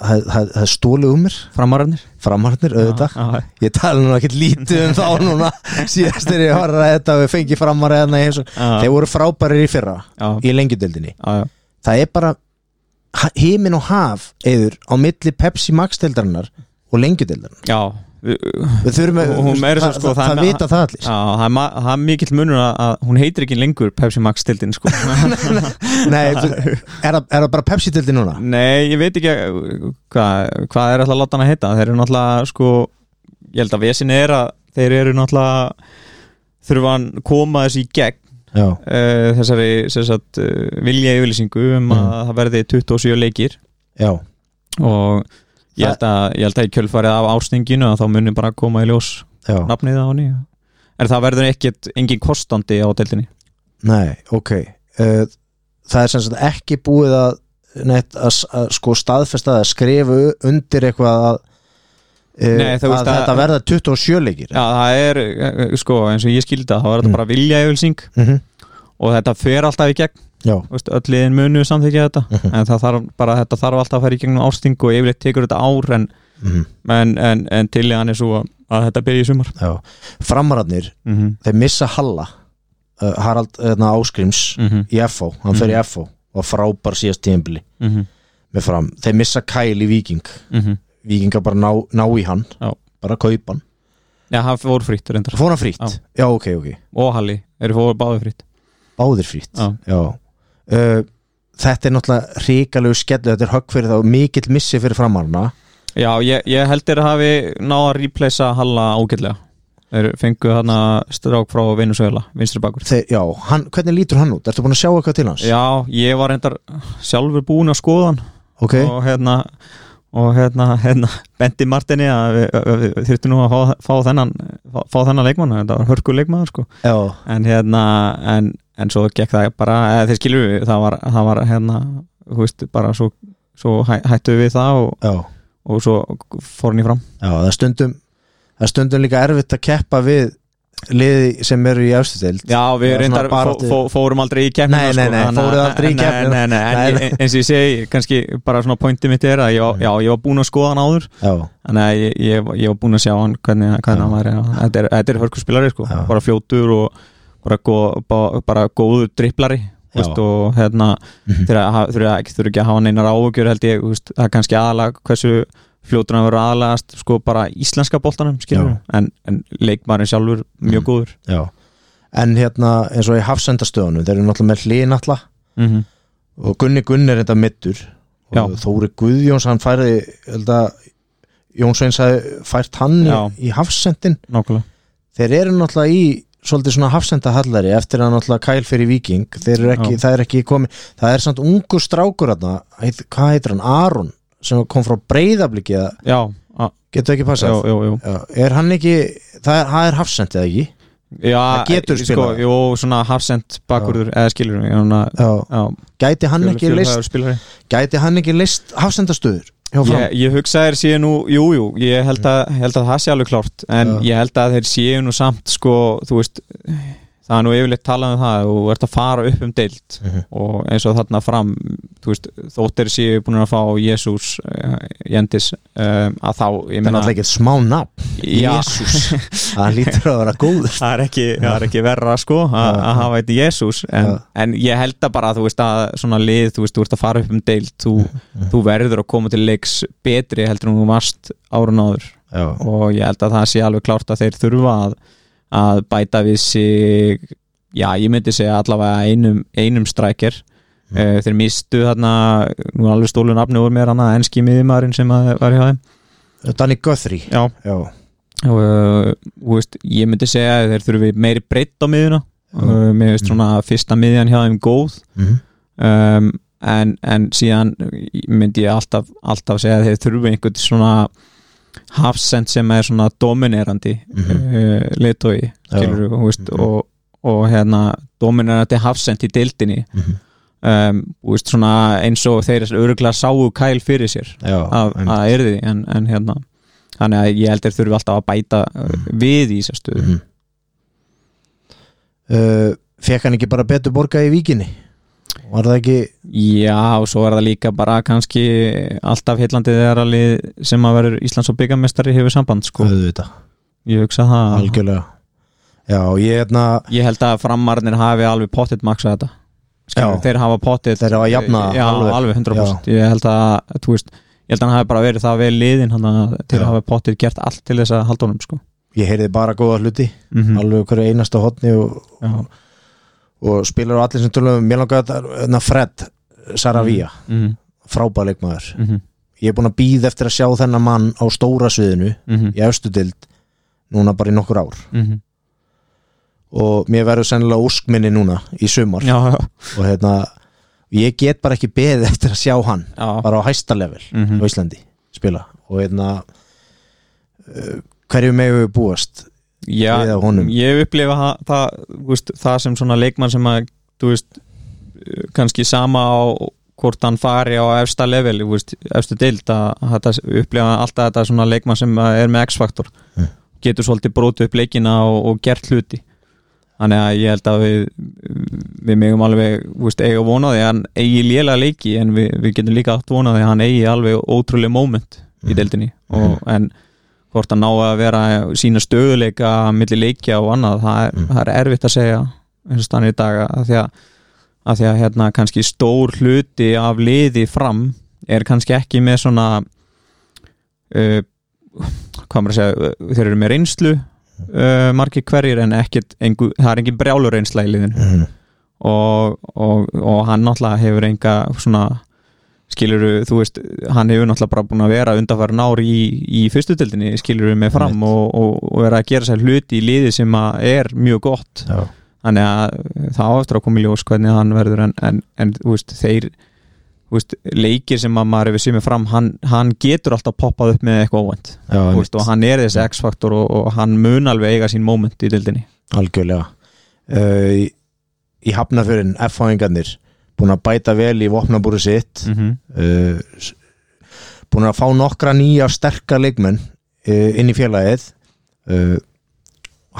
það það- það er stólið um mér
framararnir Ah,
framarnir auðvitað
Já, já.
ég tala nú ekkert lítið um þá
<laughs>
núna síðast er ég að horfa að þetta við fengi framar eðna í heimsum
Já.
þeir voru frábærir í fyrra
ah. Já, ah,
í lengjudeldinni
já, já.
það er bara heimin og haf eður á milli Pepsi Max deildarinnar og lengjudeildarinnar
já. Við-
við þurfum að
Og hún meira svo,
það,
sko,
það,
það-
það vita það allir
Já, það er, ma- það er mikill munur að, að hún heitir ekki lengur Pepsi Max stildin sko
Nei, þú- er, það, er það bara Pepsi deildi núna?
Nei, ég veit ekki að- hvað hva er alltaf að láta hann að heita Þeir eru náttúrulega sko Ég held að vesin er að þeir eru náttúrulega þurfa að koma þessi í gegn
já,
uh, þessari sem sagt, uh, vilja yfirlýsingu um að það verði 27 leikir
já,
og
Það-
ég held að, ég held að í kjölfarið af ástinginu að þá muni bara koma í ljós
já.
nafnið á henni en það verður ekkit, engin kostandi á deildinni
Nei, ok uh, Það er sem sagt ekki búið að neitt að, s- að sko staðfesta að skrifa u- undir eitthvað að, uh,
Nei, þú
að,
veist að-
þetta verða 27 leikir
Já, það er, eh, sko, eins og ég skildi það þá er þetta
Mm.
bara vilja yfirlýsing
Mhm,
og þetta fer alltaf í gegn,
Já,
þú veist, öll liðin munu samþykja þetta,
Mhm.
en það þarf bara þetta þarf alltaf að fara í gegnum ásting og yfirleitt tekur þetta ár en,
mhm,
en, en, en til ég hann er svo að, að þetta byrja í sumar
já Framararnir,
mm -hmm.
þeir missa Halla uh, Harald uh, Áskrims í FO, hann fer
Mhm.
í FO og frábær síðast tíðanbili með fram, þeir missa Kyle í Viking Víkinga bara ná, ná í hann
Já.
bara kaupa hann,
Já, það fór frýtt reyndar
fór hann frýtt
Já.
já, ok, ok,
og Halli, eru fór báði frýtt
báðir frýtt
Já,
Já uh, Þetta er náttúrulega hrikalegu skellu Þetta er högg fyrir þá mikill missi fyrir framarna
Já ég, ég heldur að hafi náða að replacea Halla ágætlega Þeir fengu þarna strák frá Venezuela, vinstri bakur
Þeir, Já, hann, hvernig lítur hann út? Ertu búin að sjá eitthvað til hans?
Já, ég var reyndar sjálfur búin að skoða hann
Ok,
og hérna og hérna, hérna, Bendi Martini að við, við, við þyrftum nú að fá, fá þennan fá, fá þennan leikmann, þetta var hörku leikmann sko.
já,
en hérna en, en svo gekk það bara, eða þeir skilur við það var, það var hérna þú veist, bara svo, svo hæ, hættu við það og,
já,
og svo fór hann í fram
já Það er stundum Það er stundum líka erfitt að keppa við liði sem eru í efstudeld
Já, við
Já, svona
reyndar
baráttu.
fó, fó, fórum aldrei í keppnina sko.
Nei, nei, nei,
þannig að-
fóruð aldrei í
nei,
keppnina.
nei, nei, en
Nei,
ég- eins og ég segi, kannski bara svona pointi mitt er að ég, var- já, ég var búin að skoða hann áður
já,
þannig að ég, ég, var- ég var búin að sjá hann hvernig, hvernig
Já.
hann var já. þetta er, þetta er hörkuspilari sko,
Já.
bara fljótur og bara, gó, bara, bara góður dripplari
Já.
veist, og hérna
Mhm.
þurfa að hafa- þurfa ekki, þurfa ekki að hafa neinar áhugjur held ég, þú veist, það er kannski aðalega hversu fljótur hann verður aðalegast sko bara íslenska boltanum skilur
Já. Mhm.
en, en leikmarin sjálfur mjög góður
já En hérna, eins og í hafsendastöðunum Þeir eru náttúrulega með hlinatla
mm
Mhm.
-hmm.
og Gunni Gunn er þetta mittur og
Já.
Þóri Guðjóns, hann færi held að Jón Sveins hafði fært hann í,
Já.
í hafsendin
nákvæmlega
þeir eru náttúrulega í svolítið svona hafsenda hallari eftir að náttúrulega kæl fyrir viking þeir eru ekki,
Já.
það er ekki komið það er samt ungu strákur þarna heit, hvað heitir hann, Aron sem kom frá breyðabliki eða
já, a-
getur ekki
já,
passað
já, já.
Já, er hann ekki, það er, það er hafsend eða ekki
já
Það getur
sko,
spilað.
jú, svona hafsend bakurður eða skilur við
Já, gæti hann ekki list
spilari
gæti hann ekki list hafsendastöður hjá fram
Ég, ég hugsa að þeir séu nú, jú, jú, ég held að, held að það sé alveg klárt en
Já.
ég held að þeir séu nú samt sko, þú veist, það er nú yfirleitt talað um það, þú ert að fara upp um deild
Mhm.
og eins og þarna fram þú veist, þóttir séu búin að fá Jésús, uh, Jendis um, að þá, ég
það er
meina
náttúrulega ekki smá nafn,
já, <laughs>
Jésús hann lítur að vera góður
það er ekki, það er ekki verra sko að-
Já.
að hafa þetta Jésús en,
Já.
en ég held að bara, þú veist, að svona lið, þú veist, þú ert að fara upp um deild þú,
Mhm.
þú verður að koma til leiks betri heldur en þú varst árun áður
Já,
og ég held að það sé alveg klárt að þeir þurfa að, að bæta við sig já, ég myndi segja allavega einum, einum strækir
Mm.
mm. þeir mistu þarna nú er alveg stólu nafni úr mér hana enski miðumarinn sem að var hjá þeim
Danny Guthrie
já,
Já,
og eh, þú veist, ég myndi segja að þeir þurfi meiri breytt á miðuna
Mm.
mm. mér veist svona fyrsta miðjan hjá þeim góð
Mhm.
um, en, en síðan myndi ég alltaf, alltaf segja að þeir þurfi einhvern svona hafsend sem er svona dominerandi mm
Mhm.
-hmm. uh, litói
Já.
veist,
Mhm.
og, og hérna dominerandi hafsend í deildinni
Mhm.
um, þú veist, svona eins og þeir öruglega sáu kæl fyrir sér
já
að,
einmitt.
að erði en, en hérna þannig að ég held þeir þurfi alltaf að bæta uh, við í þessar stöðu
mm. uh, Fekk hann ekki bara betur borgað í víkinni? var það ekki
Já, og svo er það líka bara kannski alltaf heillandi þegar að lið sem að verður Íslands og byggamestari hefur samband sko.
auðvitað,
Ég hugsa það
algjörlega já, ég hérna
Ég held að framarnir hafi alveg pottitt maksað þetta Skilur,
Já.
Þeir hafa pottitt
Þeir hafa jafnað
Já,
alveg.
alveg, 100% Ég held að, þú veist Ég held að hann hafi bara verið það vel liðin hann að til
Já.
að hafa pottitt gert allt til þess að halda honum sko.
ég heyrði bara góða hluti
mm
alveg hverju einasta hotni og,
Já.
og spilar á allir sem tölum mér langaði að hérna, Fred Saravia,
Mm
frábær leikmaður
-hmm.
ég er búin að býða eftir að sjá þennan mann á stóra sviðinu
Mm -hmm.
í austu dild núna bara í nokkur ár
Mhm.
og mér verður sennilega óskminni núna í sumar
Já, já,
og hérna, ég get bara ekki beðið eftir að sjá hann
já.
bara á hæsta level
Mhm.
á Íslandi spila og hérna eh, hverju megum við búast
já
við á honum
ég hef upplifað það, það, þú veist, það sem svona leikmann sem að þú veist, kannski sama á hvort hann fari á efsta level þú veist, efstu deild að þetta upplifa alltaf þetta svona leikmann sem að er með x-faktor
Mm.
getur svolítið brótið upp leikina og, og gert hluti þannig að ég held að við við megum alveg þú veist, eiga vonaði að hann eigi lélega leiki en við, við getum líka átt vonaði að hann eigi alveg ótrúlega moment í deildinni og, en hvort að ná að vera sína stöðuleika milli leikja og annað það er, það er erfitt að segja eins og stannir í dag að því að, að, því að hérna, kannski stór hluti af liði fram er kannski ekki með svona uh, hvað maður að segja uh, þeir eru með reynslu uh, margir hverjir en ekkit, engu, það er engin brjálur reynsla í liðinu
Mhm.
og, og, og hann náttúrulega hefur enga svona skiluru, þú veist, hann hefur náttúrulega bara búin að vera undanfærin ár í, í fyrstu dildinni skiluru með fram og, og, og vera að gera sér hluti í liði sem að er mjög gott
Já.
þannig að eh, það á eftir að koma í ljós hvernig hann verður en, en, en þú veist, þeir þú veist, leikir sem að maður hefur séð með fram hann, hann getur alltaf poppað upp með eitthvað óvænt
Já,
þú
einmitt.
veist, og hann er þessi X-faktor og, og hann mun alveg eiga sín moment í dildinni
algjörlega uh, í, í hafnafyrin F-háingarnir búin að bæta vel í vopnabúri sitt
mm -hmm.
uh, s- búin að fá nokkra nýja sterka leikmenn uh, inn í félagið uh,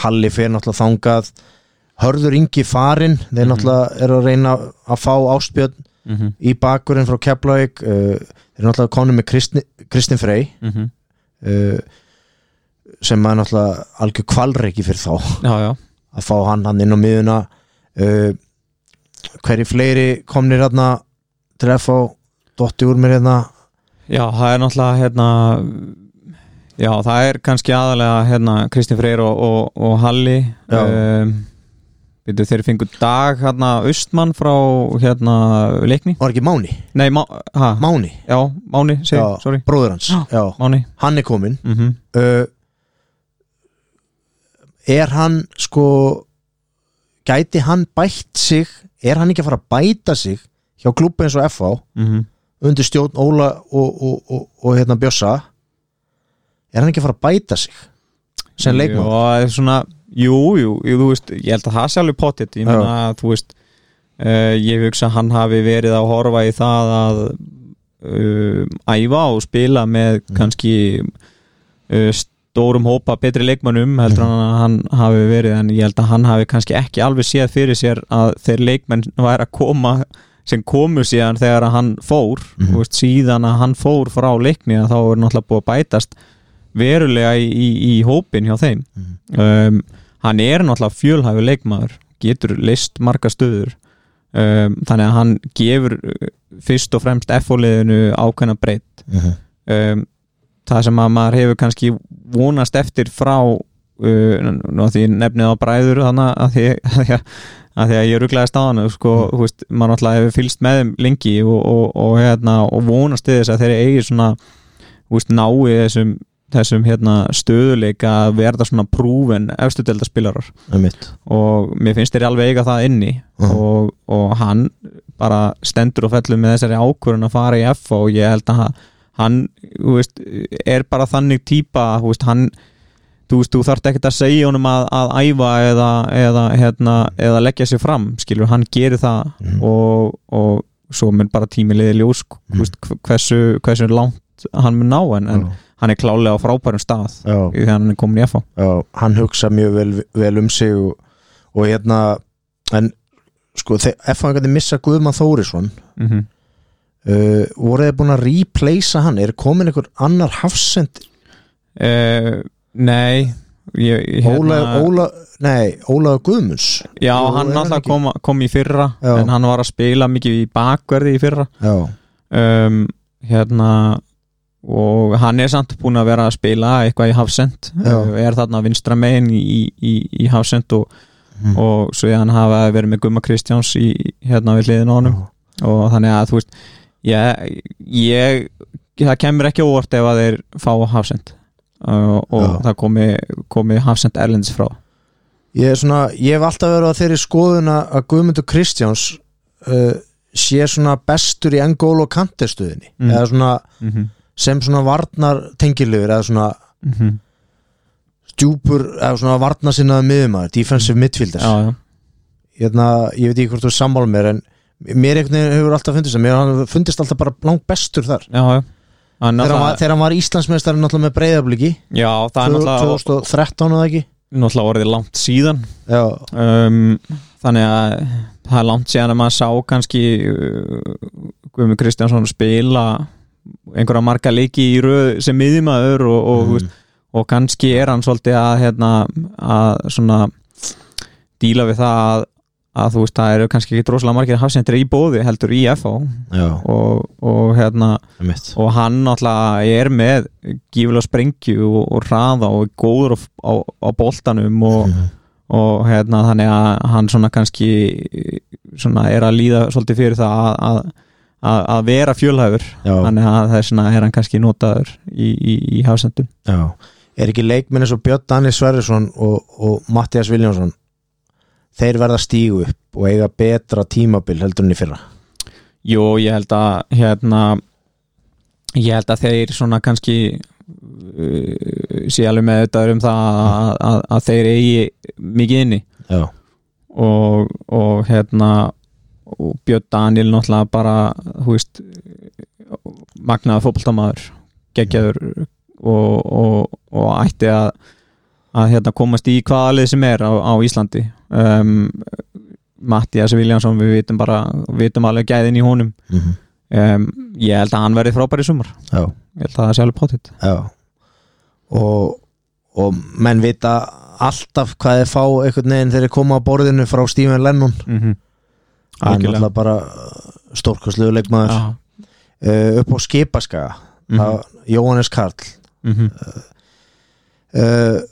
Halli fyrir náttúrulega þangað Hörður Ingi farinn þeir
Mhm.
náttúrulega eru að reyna að fá ástbjörn
Mm -hmm.
í bakurinn frá Keflavík uh, þeir eru náttúrulega konum með Kristni, Kristin Frey uh, sem er náttúrulega algjör kvalreiki fyrir þá
já, já,
að fá hann hann inn á miðuna uh, hverju fleiri komnir hérna til að fá dotti úr mér hérna
Já, það er náttúrulega hérna Já, það er kannski aðalega hérna Kristín Freyr og, og, og Halli
Já.
um, veitu, Þeir fengu dag hérna Austmann frá hérna leikni
var ekki Máni,
Nei, má, ha,
Máni
já, Máni, segi,
Já.
sorry
bróður hans,
Já.
já,
Máni
hann er kominn
mm
uh, er hann sko gæti hann bætt sig er hann ekki að fara að bæta sig hjá klubbi eins og FH undir stjórn Óla og, og, og, og hérna Bjössa er hann ekki að fara að bæta sig sem leikmann
og svona, jú, jú, jú, þú veist ég held að það sé alveg pottitt, ég meina að þú veist uh, ég hugsa að hann hafi verið að horfa í það að uh, æfa og spila með kannski uh, stórum hópa betri leikmannum heldur hann að hann hafi verið en ég held að hann hafi kannski ekki alveg séð fyrir sér að þeir leikmenn væri að koma sem komu síðan þegar að hann fór mm
Mhm.
veist, síðan að hann fór frá leikni að þá er náttúrulega búið að bætast verulega í, í, í hópin hjá þeim um, hann er náttúrulega fjölhæfi leikmaður getur list marga stöður um, þannig að hann gefur uh, fyrst og fremst F-fóliðinu ákveðna breytt
Mhm,
um, það sem að maður hefur kannski vonast eftir frá uh, nú að því ég nefnið á bræður þannig að því <laughs> að, því að, að, því að ég rugglaði staðan sko, mm. veist, maður náttúrulega hefur fylst með þeim lengi og, og, og, hérna, og vonast til þess að þeir eigi svona þú veist, nái þessum, þessum hérna, stöðuleika að verða svona prúven efstu delta spilarar
einmitt
og mér finnst þeir alveg eiga það inni
Mhm.
og, og hann bara stendur og fellur með þessari ákvörun að fara í F og ég held að hann þú veist, er bara þannig típa þú veist, hann þú, veist, þú þarft ekkert að segja honum að, að æfa eða, eða, hérna, eða leggja sér fram skilur, hann gerir það
Mhm.
og, og svo mun bara tímiliði ljós mm. veist, hv- hversu, hversu langt hann mun ná en, en
Já.
hann er klálega á frábærum stað
já,
í þegar hann er komin í F
já, hann hugsa mjög vel, vel um sig og, og hérna en sko, þe- ef hann gæti missa Guðmann Þórisson
mm -hmm.
uh, voru þið búin að replacea hann er komin einhver annar hafsend
Eh, Nei ég, ég, hérna-
Óla, Óla, nei, Óla Guðmunds
Já,
Jú,
hann
er hann
alltaf
ekki?
kom, kom í fyrra
Já.
en hann var að spila mikið í bakverði í fyrra
já,
um, hérna og hann er samt búin að vera að spila eitthvað í hafsend
Já.
er þarna vinstra megin í, í, í hafsend og,
Mhm.
og svo hann hafa verið með Gumma Kristjáns í, hérna við hliðin á honum og þannig að þú veist ég, ég það kemur ekki á óvart ef að þeir fá hafsend uh, og
Já.
það komi, komi hafsend erlendis frá
Ég, er svona, ég hef alltaf verið á þeirri skoðun að að Guðmundur Kristjáns uh, sé svona bestur í Engól og kantestuðinni
Mm.
eða svona
mm
Mhm.
-hmm.
sem svona varnar tengilegur eða svona
Mhm.
stjúpur eða svona varnar sinnaða miðumæður defensive midfielder
já, já,
hérna, ég veit ekki hvort þú er sammála mér en mér einhvern veginn hefur alltaf fundist það mér hann fundist alltaf bara langt bestur þar
já, já. Hann
þegar hann, var,
náttúrulega-
þegar hann var Íslandsmeistarinn náttúrulega með breyðabliki
já, það er náttúrulega,
2013 eða ekki
náttúrulega orðið langt síðan
já,
um, þannig að það er langt síðan að maður sá kannski uh, Guðmund Kristjánsson spila einhverja marga leiki í röð sem miðjumæður og, og, þú
Mhm.
veist, og kannski er hann svolítið að, hérna, að svona díla við það að, að þú veist, það eru kannski ekki droslega margir hafsendir í bóði heldur í FH
já,
og, og hérna
mitt
og hann náttúrulega er með gífulega sprengju og, og hraða og er góður á, á, á boltanum og, og hérna þannig að hann svona kannski svona er að líða svolítið fyrir það að, að, að, að vera fjölhæfur
já,
þannig að þess vegna er hann kannski notaður í, í, í hafsendum
já. er ekki leikminn eins og Björn Daníel Sverrisson og, og Mattias Viljánsson þeir verða stígu upp og eiga betra tímabil heldur enn í fyrra
Jó, ég held að hérna ég held að þeir svona kannski uh, sé alveg með þetta um það að, að, að þeir eigi mikið inni
já,
og, og hérna og Björn Daniel náttúrulega bara hú veist magnaða fótboltamaður geggjaður og, og, og ætti að, að hérna, komast í hvaða lið sem er á, á Íslandi um, Mattias Viljánsson við vitum bara, vitum alveg gæðin í honum
Mhm.
um, ég held að hann verði frábær í sumar
já,
ég held að það sé alveg pottitt
já og, og menn vita alltaf hvað þeir fá einhvern veginn þegar þeir koma á borðinu frá Stephen Lennon
mm -hmm.
hann er alltaf bara stórkostlegu leikmaður
Já,
uh, upp á skipaskaga mm
Mhm.
Jóhannes Karl
mm
uh,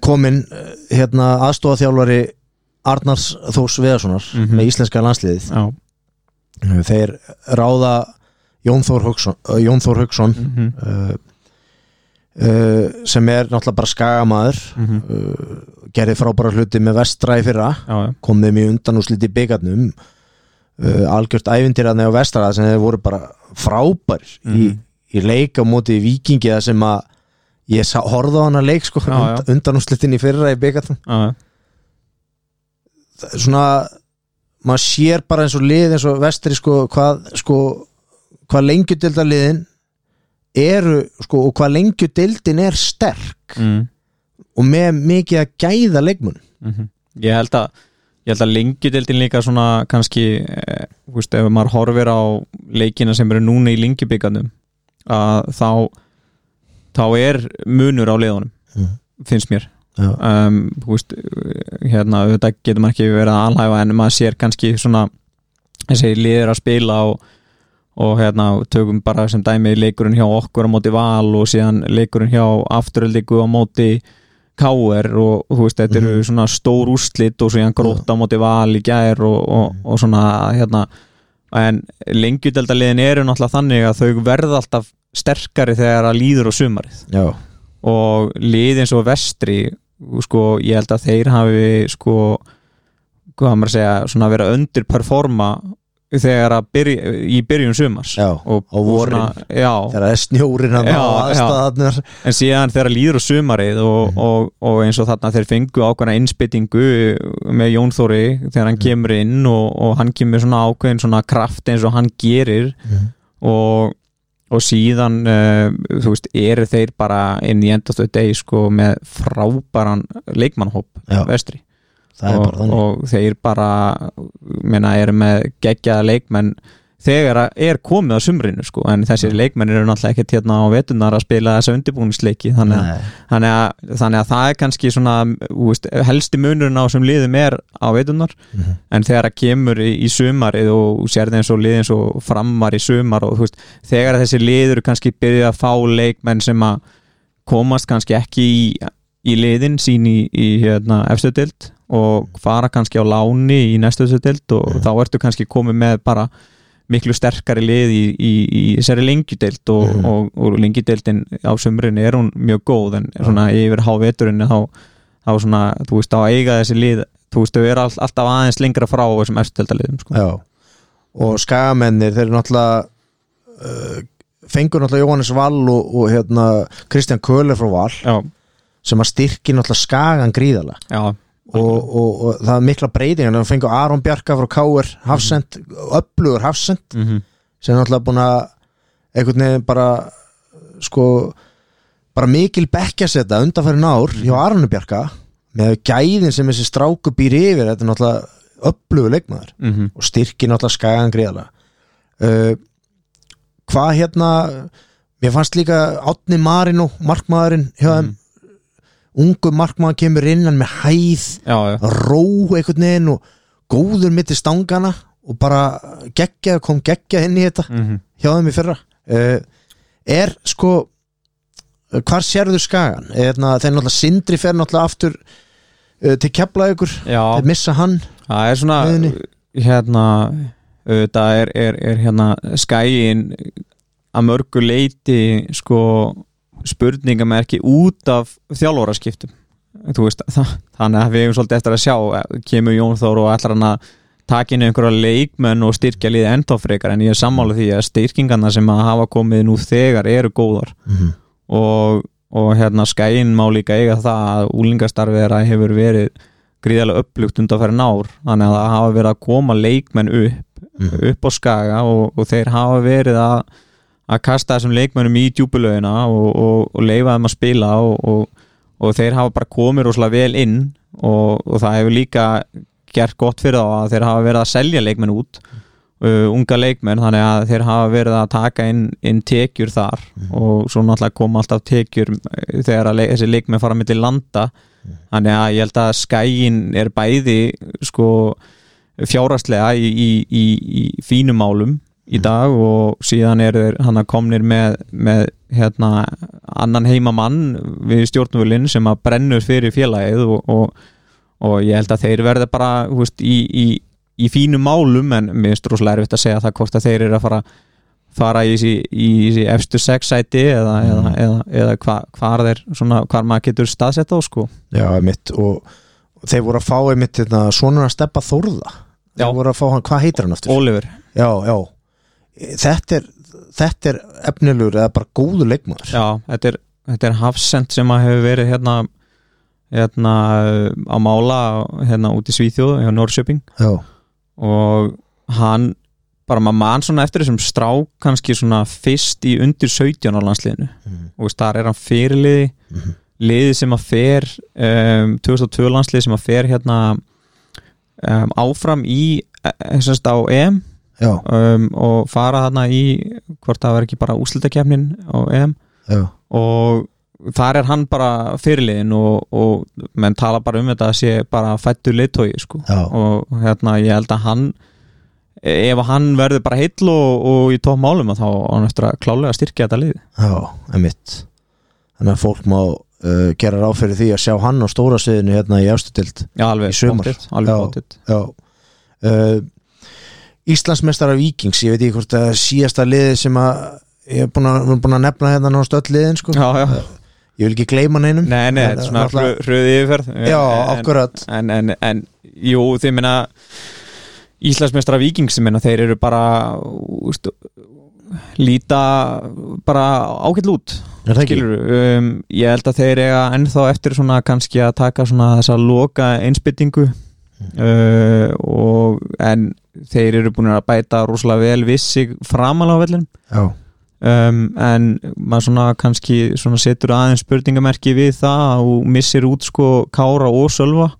komin hérna aðstofaþjálfari Arnars Þós Veðarssonar
Mhm.
með íslenska landsliðið
já.
þeir ráða Jón Þór Hugson, uh, Jón Þór Hugson
Mm -hmm.
uh, uh, sem er náttúrulega bara skagamaður uh, gerði frábæra hluti með vestra í fyrra
já, já,
kom þeim í undan og slíti byggarnum uh, algjört æfindirarni á vestra sem þeir voru bara frábær í,
Mhm.
í leik á móti vikingi það sem að ég sá, horfði á hana leik sko,
Já, já.
und, undan og í fyrra í byggarnum
já, já.
svona maður sér bara eins og lið eins og vestri sko hvað sko, hvað lengju deildaliðin eru sko og hvað lengju deildin er sterk
Mm.
og með mikið að gæða leikmun
-hmm. Ég held að ég held að lengjudeldin líka svona kannski, eh, þú veist, ef maður horfir á leikina sem eru núna í lengjubikandum að þá þá er munur á liðunum
Mhm.
finnst mér
Já.
um, þú veist, eh, hérna þetta getur maður ekki verið að alhæfa en maður sér kannski svona þessi liður að spila og og hérna tökum bara sem dæmi leikurinn hjá okkur á móti val og síðan leikurinn hjá afturöldingu á móti KR og þú veist þetta eru svona stór úrslit og síðan gróta á móti val í gær og, og, og svona hérna en lengjudeldaliðin eru náttúrulega þannig að þau verða alltaf sterkari þegar að líður á sumarið
já,
og lið eins og vestri sko ég held að þeir hafi sko hvað á maður að segja svona verið að underperforma þegar að byrja í byrjun sumars
já,
og,
á vorin.
og svona, já,
þegar það er snjórin að
Já,
aðstæðanir
En síðan þegar líður á sumarið og,
Mhm.
og, og eins og þarna þeir fengu ákveðna innspytingu með Jón Þóri
Mhm.
þegar hann kemur inn og, og hann kemur svona ákveðin svona kraft eins og hann gerir og, og síðan uh, þú veist, eru þeir bara inn í endastu degi sko með frábæran leikmannhóp
Já.
vestri
það er
og,
bara þannig
og þeir bara meina, eru með geggjaða leikmenn þegar að- er komið á sumrinu sko, en þessir leikmenn eru náttúrulega ekkert hérna á vetunar að spila þessa undirbúningsleiki þannig að,
Nei.
þannig, að, þannig að það er kannski svona þú veist, helsti munurinn á sem liðum er á vetunar
Mhm.
en þegar það kemur í, í sumarið og sérði eins og liðin svo framar í sumar og þú veist, þegar þessi liður kannski byrja að fá leikmenn sem að komast kannski ekki í, í liðin sín í, í hérna, efstöðdild og fara kannski á láni í næstu efstöðdild og þá ertu kannski komið með bara miklu sterkari lið í, í, í þessari lengjudeild og,
Mhm.
og, og lengjudeildin á sumrinni er hún mjög góð en svona yfir háveturinni þá, þá svona, þú veist, þá eiga þessi lið þú veist, þau eru all, alltaf aðeins lengra frá þessum efstöldaliðum sko.
Já. og skagamennir þeir eru náttúrulega uh, fengur náttúrulega Jóhannes Wall og, og hérna, Kristján Köhler frá Wall
já,
sem að styrki náttúrulega skagan gríðala
já,
og, og, og það er mikla breytingar þegar fengur Aron Bjarka frá Káur hafsend, upplugur hafsend
mm -hmm.
sem er náttúrulega búin að einhvern veginn bara sko, bara mikil bekkja setta undanfærin ár hjá Arnu Bjarka með gæðin sem þessi stráku býr yfir, þetta er náttúrulega upplugu leikmaður
Mm -hmm.
og styrki náttúrulega skagan greiðlega uh, hvað hérna mér fannst líka Átni Marino markmaðurinn hjá þeim ungu markmaður kemur inn hann með hæð,
já, já,
ró einhvern veginn og góður mitt í stangana og bara geggja, kom geggja inn í þetta
mm -hmm.
hjá þeim í fyrra uh, er sko eh, hvar sérðu skagan er, na, þeir náttúrulega sindri fer náttúrulega aftur uh, til kepla ykkur
já
þeir missa hann
það er svona
Liðinni.
hérna auðvitað er, er, er hérna skæin að mörgu leiti sko spurningamerki út af þjálfóraskiptum þú veist, það, þannig að við hefum svolítið eftir að sjá eh, kemur Jón Þór og ætlar hann að taka inn einhverja leikmenn og styrkja liðið ennþá frekar en ég er sammála því að styrkingarna sem að hafa komið nú þegar eru góðar
Mhm.
og, og hérna skæin má líka eiga það að úlingastarfið þeirra hefur verið gríðarlega upplugt undanfærin ár þannig að það hafa verið að koma leikmenn upp upp á skaga og, og þeir hafa verið að, að kasta þessum leikmennum í djúpulögina og, og, og leifa þeim að spila og, og, og þeir hafa bara komið rosalega vel inn og, og það hefur líka gert gott fyrir þá að þeir hafa verið að selja leikmenn út uh, unga leikmenn þannig að þeir hafa verið að taka inn, inn tekjur þar og svo náttúrulega koma alltaf tekjur eh, þegar að leik, þessi leikmenn fara milli landa þannig að ég held að skæin er bæði sko fjárastlega í, í, í, í fínum málum í dag og síðan er þeir hann komnir með, með hérna, annan heimamann við stjórnvölinn sem að brennur fyrir félagið og, og, og ég held að þeir verða bara þú veist, í, í, í fínum málum en mér finnst rosalega erfitt að segja það hvort að þeir eru að fara fara í þessi, í þessi efstu sex sæti eða, eða, eða, eða hva, hvar, þeir, svona, hvar maður getur staðsett á sko
já, mitt, og og þeir voru að fá einmitt hérna, svona að steppa þórða
Já.
þeir voru að fá hann, hvað heitir hann aftur?
Oliver
já, já, Eh, þetta er þetta er efnilegur eða bara góður leikmaður
Já, þetta er, þetta er hafsend sem að hefur verið hérna, hérna uh, á mála hérna út í Svíþjóð hjá Norrköping
já,
og hann bara maður mann svona eftir þessum strák kannski svona fyrst í undir 17 á landsliðinu
Mhm.
og veist, þar er hann fyrirliði
Mhm.
liði sem að fer um, 2002 landsliði sem að fer hérna um, áfram í þessast á EM
já,
um, og fara þarna í hvort það var ekki bara úslitakefnin á EM
já,
og þar er hann bara fyrirliðin og, og menn tala bara um þetta að sé bara fættur leittói sko.
Já.
og hérna ég held að hann ef hann verður bara heill og, og í tók málum að þá á hann eftir að klálega styrkja þetta lið
já, emitt þannig að fólk má uh, gera ráð fyrir því að sjá hann á stóra sviðinu hérna í efstutild
Já, alveg
Í sumar.
pottþétt, alveg
Já.
bóttið
Já uh, Íslandsmestara Víkings ég veit ekki hvort að síðasta liði sem að ég er búin að, við erum búin að nefna hérna náttúrulega öll liðin sko.
Já, já,
ég vil ekki gleyma neinum
nei,
En-
nei, þetta er svona
náttúrulega-
hröði yfirferð
Já,
En-
akkurat
en, en, en jú, þið minna Íslandsmeistra Víkings ég minna, þeir eru bara úst, líta bara ágætt lút
Er það ekki?
skilur, um, ég held að þeir eiga ennþá eftir svona kannski að taka svona þessa loka einsbyttingu uh, og en þeir eru búin að bæta rosalega vel við sig framalega á vellin
Já,
um, en maður svona kannski svona setur aðeins spurningamerki við það og missir út sko Kára og Sölva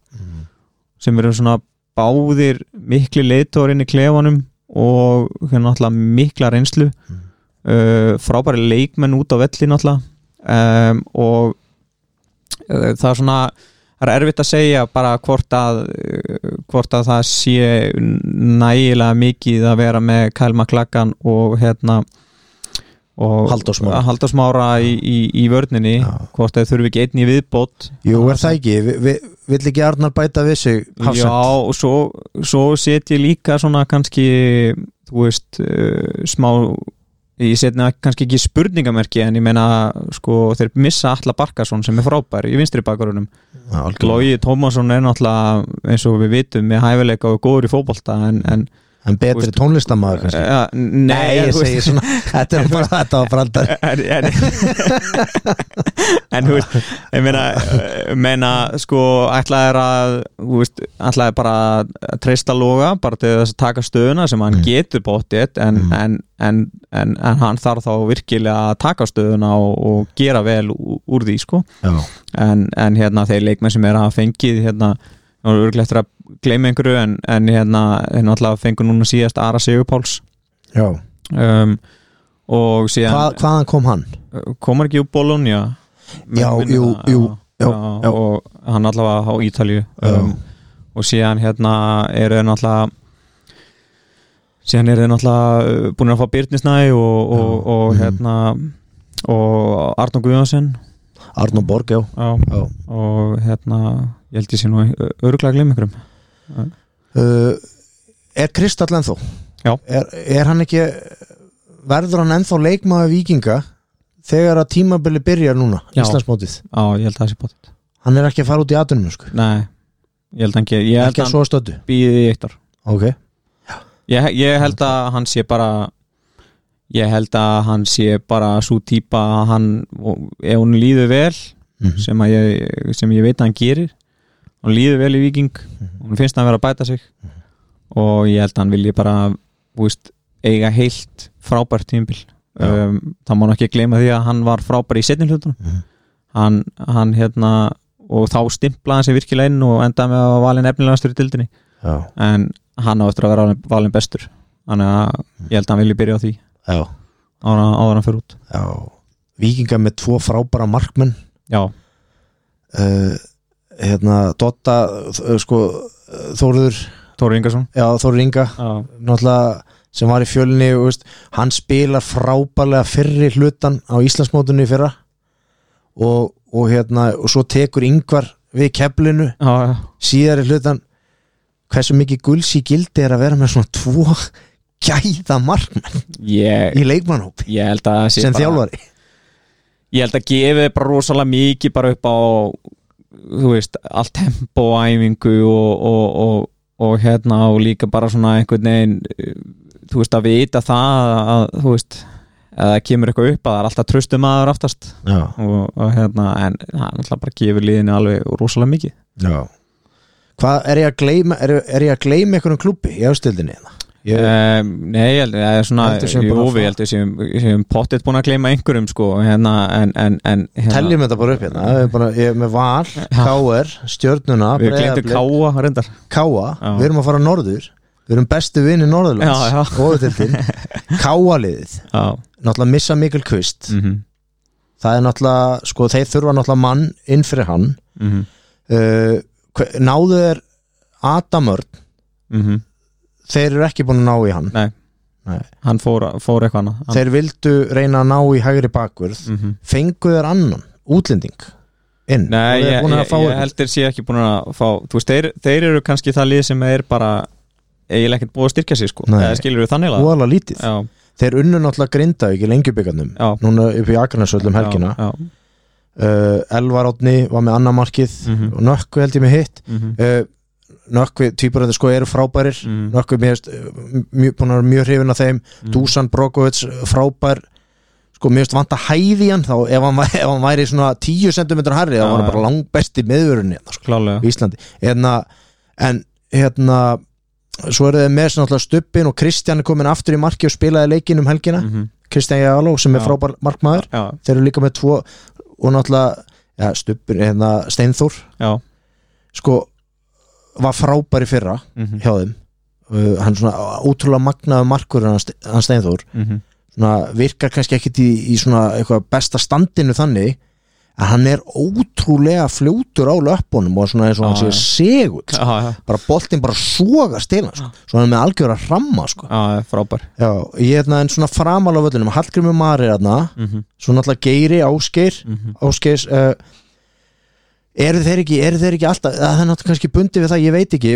sem eru svona báðir mikli leitóri inn í klefanum og hérna náttúrulega mikla reynslu
Mm.
uh, frábæri leikmenn út á velli náttúrulega um, og uh, það er svona það er erfitt að segja bara hvort að uh, hvort að það sé nægilega mikið að vera með Kælma Klakkan og hérna og
Halldór Smára.
Halldór Smára í, í, í vörninni
Já.
hvort að þurfi ekki einn í viðbót
Jú, er það ekki, Vi- vi- vill ekki Arnar bæta við sig
Já,
hafsend
og svo, svo set ég líka svona kannski, þú veist, uh, smá, ég set nefna kannski ekki spurningamerki en ég meina, sko, þeir missa Alla Barkason sem er frábær í vinstri bakarunum.
Já, algjörlega.
Lógi Tómasson er náttúrulega, eins og við vitum, með hæfileika og góður í fótbolta en, en
en betri
Þú veist-
tónlistamæður kannski
ja, nei,
ég
þú veist-
segi
<laughs>
svona Þetta var bara þetta var brandar
en, en, en þú veist ég meina, eh, meina sko ætlaði að þú veist, ætlaði bara að treysta loga bara til þess að taka stöðuna sem hann
Mm.
getur bóttið en,
Mm.
en, en, en, en hann þarf þá virkilega að taka stöðuna og, og gera vel ú- úr því sko
Já,
en, en hérna þeir leikmenn sem er að hafa fengið hérna, nú er örglega eftir að gleyma einhverju en, en hérna, hérna alltaf fengur núna síðast Ara Sigurpáls
já.
um, og síðan
Hvað, hvaðan kom hann?
komar Eh, ekki úr Bologna
Já,
Minnir
jú,
það,
jú,
já,
já, já.
og hann allavega á Ítalju um, og síðan hérna eru þeir náttúrulega síðan eru þeir náttúrulega búin að fá Byrnisnæ og, og,
Já,
og
mhm.
hérna og Arnó Guðjónsson
Arnur Borg, já,
já,
já.
og hérna ég held ég sé nú öruglega gleym ykkurum
Uh, Er Kristall ennþá?
Já.
er, er hann ekki Verður hann ennþá leikmaður vikinga Þegar að tímabili byrjar núna
Já.
Íslandsmótið
já, ég held að það sé bótt
Hann er ekki að fara út í atunum sko.
nei, ég held að hann, ge- ég held
Ekki að
að hann
svo stöddu
býði í eitt ár
okay.
Ég, ég held að hann sé bara ég held að hann sé bara svo típa að hann ef hún líður vel
Mhm.
sem, að ég, sem ég veit að hann gerir hún líður vel í viking hún finnst að hann vera að bæta sig og ég held að hann vilji bara þú veist, eiga heilt frábært tímbil
Já.
um, það má hann ekki gleyma því að hann var frábær í setni hlutunum
Mhm.
hann, hann hérna og þá stimplaði hann sig virkilega inn og endaði með að valin efnilegastur í dildinni
Já,
en hann á eftir að vera valinn- valinn bestur þannig að ég held að hann vilji byrja á því
já,
áður en- áður en hann fyrir út
já Víkinga með tvo frábæra markmenn
já,
uh, Hérna, Dotta uh, sko, uh, Þóruður
Tóri Ingarsson
Já, Þóruður Inga
já,
náttúrulega sem var í fjölni og, veist, hann spilar frábælega fyrri hlutan á Íslandsmótinu í fyrra og, og, hérna, og svo tekur yngvar við keflinu
já, já,
síðari hlutan hversu mikið gulls í gildi er að vera með svona tvo <laughs> gæða markmenn
ég,
í leikmannhópi
ég held að það sé
sem
bara-
þjálfari
ég held að gefi bara rosalega mikið bara upp á þú veist, allt tempo og æfingu og, og, og, og hérna og líka bara svona einhvern veginn eh, þú veist að vita það að, að þú veist að það kemur eitthvað upp að það er alltaf tröstum aður aftast
já,
og, og hérna en hann alltaf bara gefur liðinu alveg rosalega mikið
já hvað er ég að gleyma er, er ég að gleyma einhverjum klubbi í ástildinni ég,
um, Nei, ég held að það er svona
Heldur séum bara að
Jú, við
fara.
heldur sem, sem pottet búin að gleyma einhverjum sko, hérna, en, en, en hérna,
teljum þetta bara upp hérna ég er, bara, ég er með val, KR, stjörnuna
Við glemdum
Breiðablik.
káa reyndar
Káa,
Já.
við erum að fara norður við erum bestu vinni
Já, já.
Norðurlands góðutildin,
<laughs>
Káa-liðið
Já,
náttúrulega missa Mikkel Kvist
mhm,
það er náttúrulega, sko þeir þurfa náttúrulega mann inn fyrir hann
mhm,
uh, hve- náðu er Adamörn,
mhm
þeir eru ekki búin að ná í hann
Nei,
Nei.
hann fór, fór eitthvað annað hann,
þeir vildu reyna að ná í hægri bakvörð
mm
fengu þeir annan, útlending inn,
Nei,
Og þeir
ég,
búin að
ég,
fá
ég
einhvern.
held þeir sé ekki búin að fá þú veist, þeir, þeir eru kannski það lið sem er bara eiginlega ekkert búið að styrkja sig sko
Nei.
eða skilur við þannig að
Voðalega lítið,
Já,
þeir unnu náttúrulega grinda ekki lengjubikarnum,
Já.
núna upp í Akarnasöllum Um helgina
já, já,
uh, Elvar Átni var með annar markið
Mhm.
og Nökkvi held ég með hitt
mm -hmm.
uh, Nökkvi, tvíburandi sko eru frábærir
Mm.
Nökkvi mér finnst, uh, mjög, búin að vera mjög hrifin af þeim
Mhm.
Dusan Brokovits eh, frábær sko mér finnst vanta hæði í hann þá ef hann, væ- ef hann væri svona 10 cm hærri þá
Já,
var hann
já.
bara langbesti meðvörunni hérna, sko,
klálega
í Íslandi hérna, en hérna svo eru þeir með svona alltaf stuppin og Kristján er komin aftur í marki og spilaði leikinn um helgina
mm -hmm.
Kristján Jáló sem er
Já.
frábær markmaður
Já,
þeir eru líka með tvo og náttúrulega ja, stupur, hérna, Steinþór
já,
sko, var frábæri fyrra
mhm,
hjá þeim uh, hann svona ótrúlega magnaður markur hann, Ste- hann Steinþór
mhm,
svona, virkar kannski ekkit í, í svona eitthvað besta standinu þannig en hann er ótrúlega fljótur á löpunum og svona eins og hann
Já,
sé segull
Já, já,
bara boltinn bara sogast til hann sko. svona með algjör að ramma sko.
já, já, frábær
Já, ég hefna en svona framal á völlunum Hallgrimur Mari hérna
Mhm,
svo náttúrulega Geiri Ásgeir
mhm.
Áskeirs uh, eru þeir ekki, eru þeir ekki alltaf að það er náttúrulega kannski bundið við það, ég veit ekki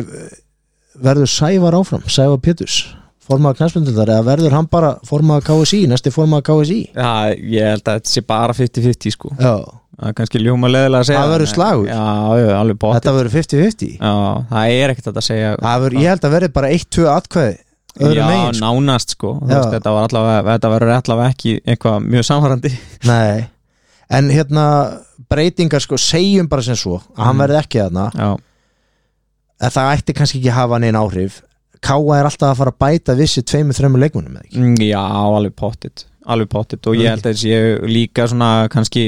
verður Sævar áfram, Sævar Péturs formaða knæspundildar eða verður hann bara formaða KSI, næsti formaða KSI
Já, ég held að þetta sé bara 50-50 sko
já,
Það er kannski ljóma leðilega að segja
Það verður
en-
slagur.
Já, já, alveg bótt
þetta verður 50-50
Já, það er ekkert hægt að segja
Það verður- ég held að verður bara 1-2 atkvæði öðru
Já,
megin, sko.
nánast sko Þú
Já.
veist, þetta, var allavega, þetta verður allavega ekki eitthvað mjög samfærandi
nei en hérna breytingar sko segjum bara sem svo að hann verði ekki þarna
Já,
að það ætti kannski ekki að hafa neinn áhrif Káa er alltaf að fara að bæta vissi tveimur, þreimur leikmunum eða ekki
Mm, Já, alveg pottit alveg pottit og ég held að ég líka svona kannski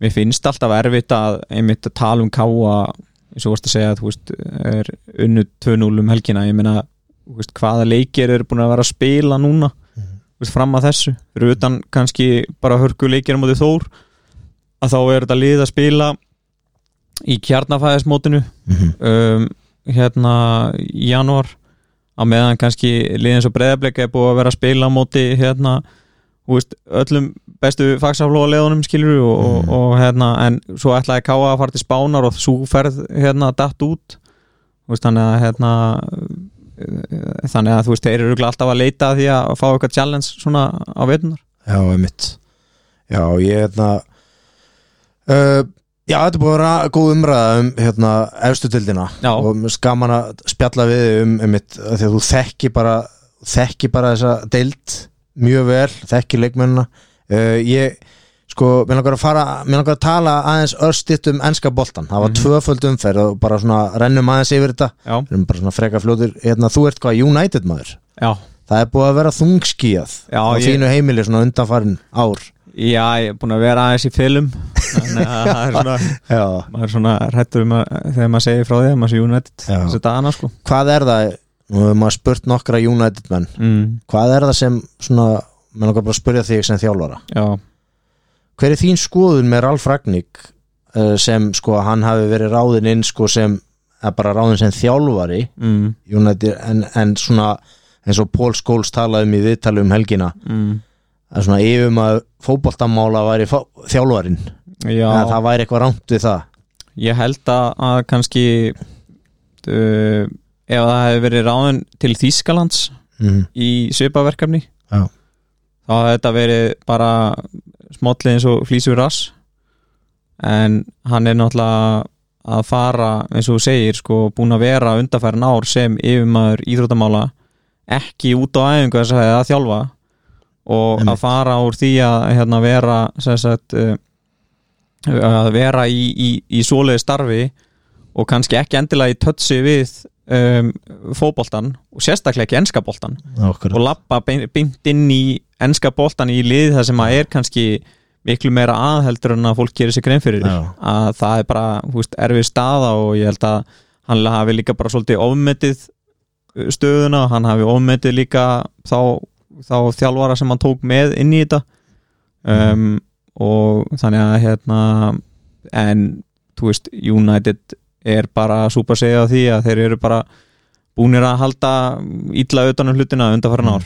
mér finnst alltaf erfitt að einmitt að tala um káa eins og vorst að segja að þú veist er unnu 2-0 um helgina ég meina þú veist, hvaða leikir eru búin að vera að spila núna
Mhm.
þú veist, fram að þessu fyrir utan kannski bara hörku leikir á móti Þór að þá er þetta lið að spila í kjarnafæðismótinu
mm -hmm.
um, hérna í janúar á meðan kannski liðins og breyðableika er búið að vera að spila á móti hérna þú veist, öllum bestu fagsaflóa leðunum skilur og,
Mhm.
og, og hérna en svo ætlaði Káa að fara til Spánar og svo ferð hérna datt út Þú veist, þannig að hérna eh, þannig að þú veist, þeir eru örugglega alltaf að leita að því að fá eitthvað challenge svona á veitunar
Já, einmitt Já, ég hérna uh, Já, þetta er búið að vera góð umræða um hérna, efstu tildina
Já,
og mér finnst gaman að spjalla við þig um, um mitt, því að þú þekki bara þekki bara þessa deild mjög vel, þekki leikmennina uh, ég, sko, mér langar að fara mér langar að tala aðeins örstitt um enska boltan, það var
Mhm.
tvöföld umferð og bara svona rennum aðeins yfir þetta
já,
við erum bara svona freka fljótur, hérna, þú ert hvað United maður,
já,
það er búið að vera þungskíað
já
á
ég-
þínu heimili svona undanfarin ár
Já, ég er búin að vera aðeins í
<laughs>
fylum Þannig að það er svona
Já.
maður er svona hrættur um að þegar maður segir frá því að maður sé United
Já.
þessi dagana sko
Hvað er það, nú hefur maður spurt nokkra United menn,
mm.
hvað er það sem svona, menn okkar bara að spyrja þig sem þjálfara,
já,
hver er þín skoðun með Ralf Ragník eh, sem sko hann hafi verið ráðin inn sko sem, eða bara ráðin sem þjálfari
mm.
United en, en svona eins og Paul Scholes talaði um í viðtali um helgina
Mm.
að svona yfum að fótboltamála væri fá- þjálfarinn,
já
að það væri eitthvað rámt við það
ég held að, að kannski uh, ef það hefði verið ráðin til Þýskalands
mm.
í svipaverkefni
Já.
þá hefði þetta verið bara smollið eins og flýsur rass en hann er náttúrulega að fara eins og þú segir sko búin að vera undarfærin ár sem yfirmaður íþróttamála ekki út á æfingu þess að það að þjálfa og
Einmitt.
að fara úr því að hérna, vera sem sagt, uh, að vera í, í, í svoleiði starfi og kannski ekki endilega í tötsi við um, fótboltan og sérstaklega ekki enska boltan
okkur
og lappa beint inn í enska boltan í lið það sem að er kannski miklu meira aðheldur en að fólk gerir sér grein fyrir
Já.
að það er bara þú veist, erfið staða og ég held að hann hafi líka bara svolítið ofmetið uh, stöðuna, hann hafi ofmetið líka þá, þá þjálfara sem hann tók með inn í þetta um, og þannig að hérna en þú veist United er bara súpa segja á því að þeir eru bara búnir að halda illa utanum hlutina undanfæran ár